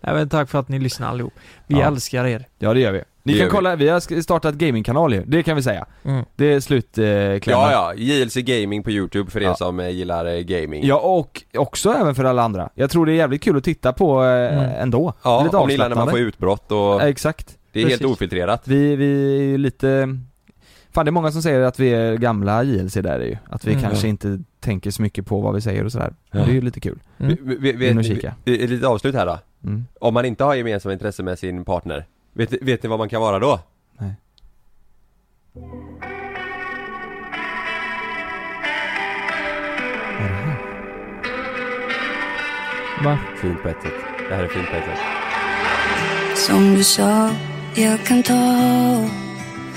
Speaker 4: Nej, men tack för att ni lyssnar allihop. Vi
Speaker 3: Ja.
Speaker 4: älskar er.
Speaker 3: ja det gör vi. Ni
Speaker 2: Det gör
Speaker 3: kan
Speaker 2: vi.
Speaker 3: kolla, vi har sk- startat gamingkanal ju, det kan vi säga.
Speaker 4: Mm.
Speaker 3: Det är slutklämmen. Eh, klämmen.
Speaker 2: Ja, ja. JLC Gaming på YouTube för er som eh, gillar eh, gaming.
Speaker 3: Ja och också även för alla andra. Jag tror det är jävligt kul att titta på eh,
Speaker 4: Mm.
Speaker 3: ändå. Det är
Speaker 2: Ja,
Speaker 3: lite
Speaker 2: om ni gillar när man
Speaker 3: avslappnande.
Speaker 2: får utbrott och...
Speaker 3: Ja, Exakt.
Speaker 2: Det är helt
Speaker 3: Precis.
Speaker 2: ofiltrerat.
Speaker 3: Vi, vi är ju lite, fan det är många som säger att vi är gamla JLC där ju. Att vi
Speaker 4: Mm.
Speaker 3: kanske
Speaker 2: Ja.
Speaker 3: inte tänker så mycket på vad vi säger och sådär. Men Det är ju lite kul.
Speaker 4: Mm.
Speaker 2: Vi, vi, vi,
Speaker 3: In och
Speaker 2: vi,
Speaker 3: kika.
Speaker 2: vi, lite avslut här då.
Speaker 3: Mm.
Speaker 2: Om man inte har gemensamma intressen med sin partner, vet, vet ni vad man kan vara då?
Speaker 3: Nej.
Speaker 4: Va?
Speaker 2: Fint på ett sätt. Det här är fint på ett sätt.
Speaker 10: Som du sa, jag kan ta och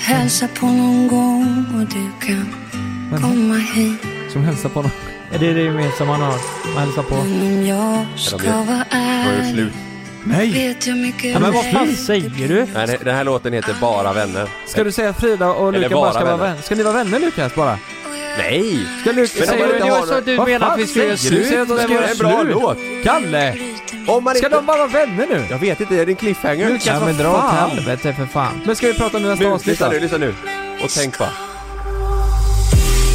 Speaker 10: hälsa på någon gång och du kan komma hit.
Speaker 3: Som hälsar på honom.
Speaker 4: Är det det gemensamma man har? Man hälsar på.
Speaker 10: Men om jag ska vara ärlig vet jag mycket
Speaker 4: Ja, men vad fan
Speaker 10: väl.
Speaker 4: säger du?
Speaker 2: Nej, det- den här låten heter Bara vänner.
Speaker 3: Ska du säga att Frida och
Speaker 2: Eller
Speaker 3: Lukas bara ska
Speaker 2: vara
Speaker 3: vara vänner? Ska ni vara vänner Lukas bara?
Speaker 2: Nej!
Speaker 3: Ska Lukas
Speaker 2: Men om man
Speaker 3: säga
Speaker 2: inte
Speaker 3: det?
Speaker 2: har-
Speaker 4: du
Speaker 3: Vad
Speaker 4: menar
Speaker 3: fan
Speaker 4: att vi ska göra
Speaker 3: säger du?
Speaker 4: slut?
Speaker 3: Säg att de ska
Speaker 2: Det var
Speaker 3: göra
Speaker 2: en bra
Speaker 3: slut.
Speaker 2: låt!
Speaker 3: Kalle!
Speaker 2: Om man
Speaker 3: Ska
Speaker 2: inte...
Speaker 3: de bara vara vänner nu?
Speaker 2: Jag vet inte, är det en cliffhanger?
Speaker 3: Lukas,
Speaker 4: Ja, men
Speaker 3: vad
Speaker 4: dra åt
Speaker 3: fan?
Speaker 4: helvete för fan.
Speaker 3: Men ska vi prata om nästa
Speaker 2: Nu,
Speaker 3: avsnitt
Speaker 2: lyssna
Speaker 3: då?
Speaker 2: nu, lyssna nu. Och tänk bara.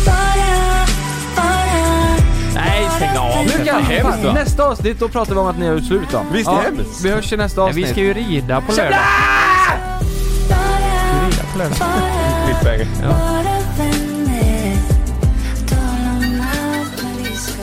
Speaker 10: Bara, bara,
Speaker 4: Nej, stäng av
Speaker 3: Lukas!
Speaker 4: Hemskt, va?
Speaker 3: Nästa avsnitt, då pratar vi om att ni har gjort slut då.
Speaker 4: Visst är det hemskt?
Speaker 3: Vi hörs i nästa
Speaker 4: Nej,
Speaker 3: avsnitt.
Speaker 4: vi ska ju rida på lördag.
Speaker 3: Rida på lördag.
Speaker 4: Cliffhanger. Ja.
Speaker 10: Bara vänner, tala om allt vad vi ska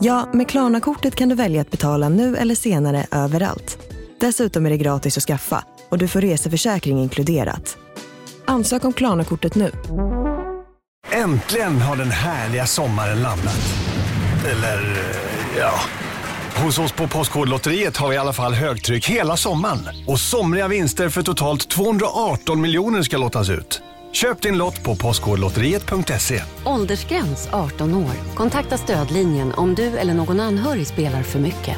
Speaker 1: Ja, med Klarna-kortet kan du välja att betala nu eller senare överallt. Dessutom är det gratis att skaffa och du får reseförsäkring inkluderat. Ansök om Klarna-kortet nu.
Speaker 11: Äntligen har den härliga sommaren landat. Eller, eh, ja. Hos oss på Postkodlotteriet har vi i alla fall högtryck hela sommaren. Och somriga vinster för totalt 218 miljoner ska lottas ut. Köp din lott på postkodlotteriet.se.
Speaker 12: Åldersgräns 18 år. Kontakta stödlinjen om du eller någon anhörig spelar för mycket.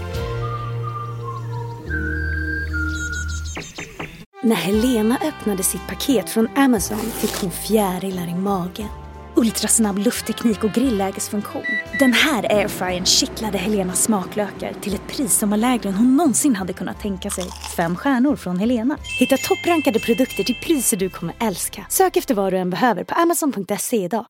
Speaker 13: När Helena öppnade sitt paket från Amazon fick hon fjärilar i magen. Ultrasnabb luftteknik och grillägesfunktion. Den här airfryern kittlade Helenas smaklökar till ett pris som var lägre än hon någonsin hade kunnat tänka sig. Fem stjärnor från Helena. Hitta topprankade produkter till priser du kommer älska. Sök efter vad du än behöver på amazon.se idag.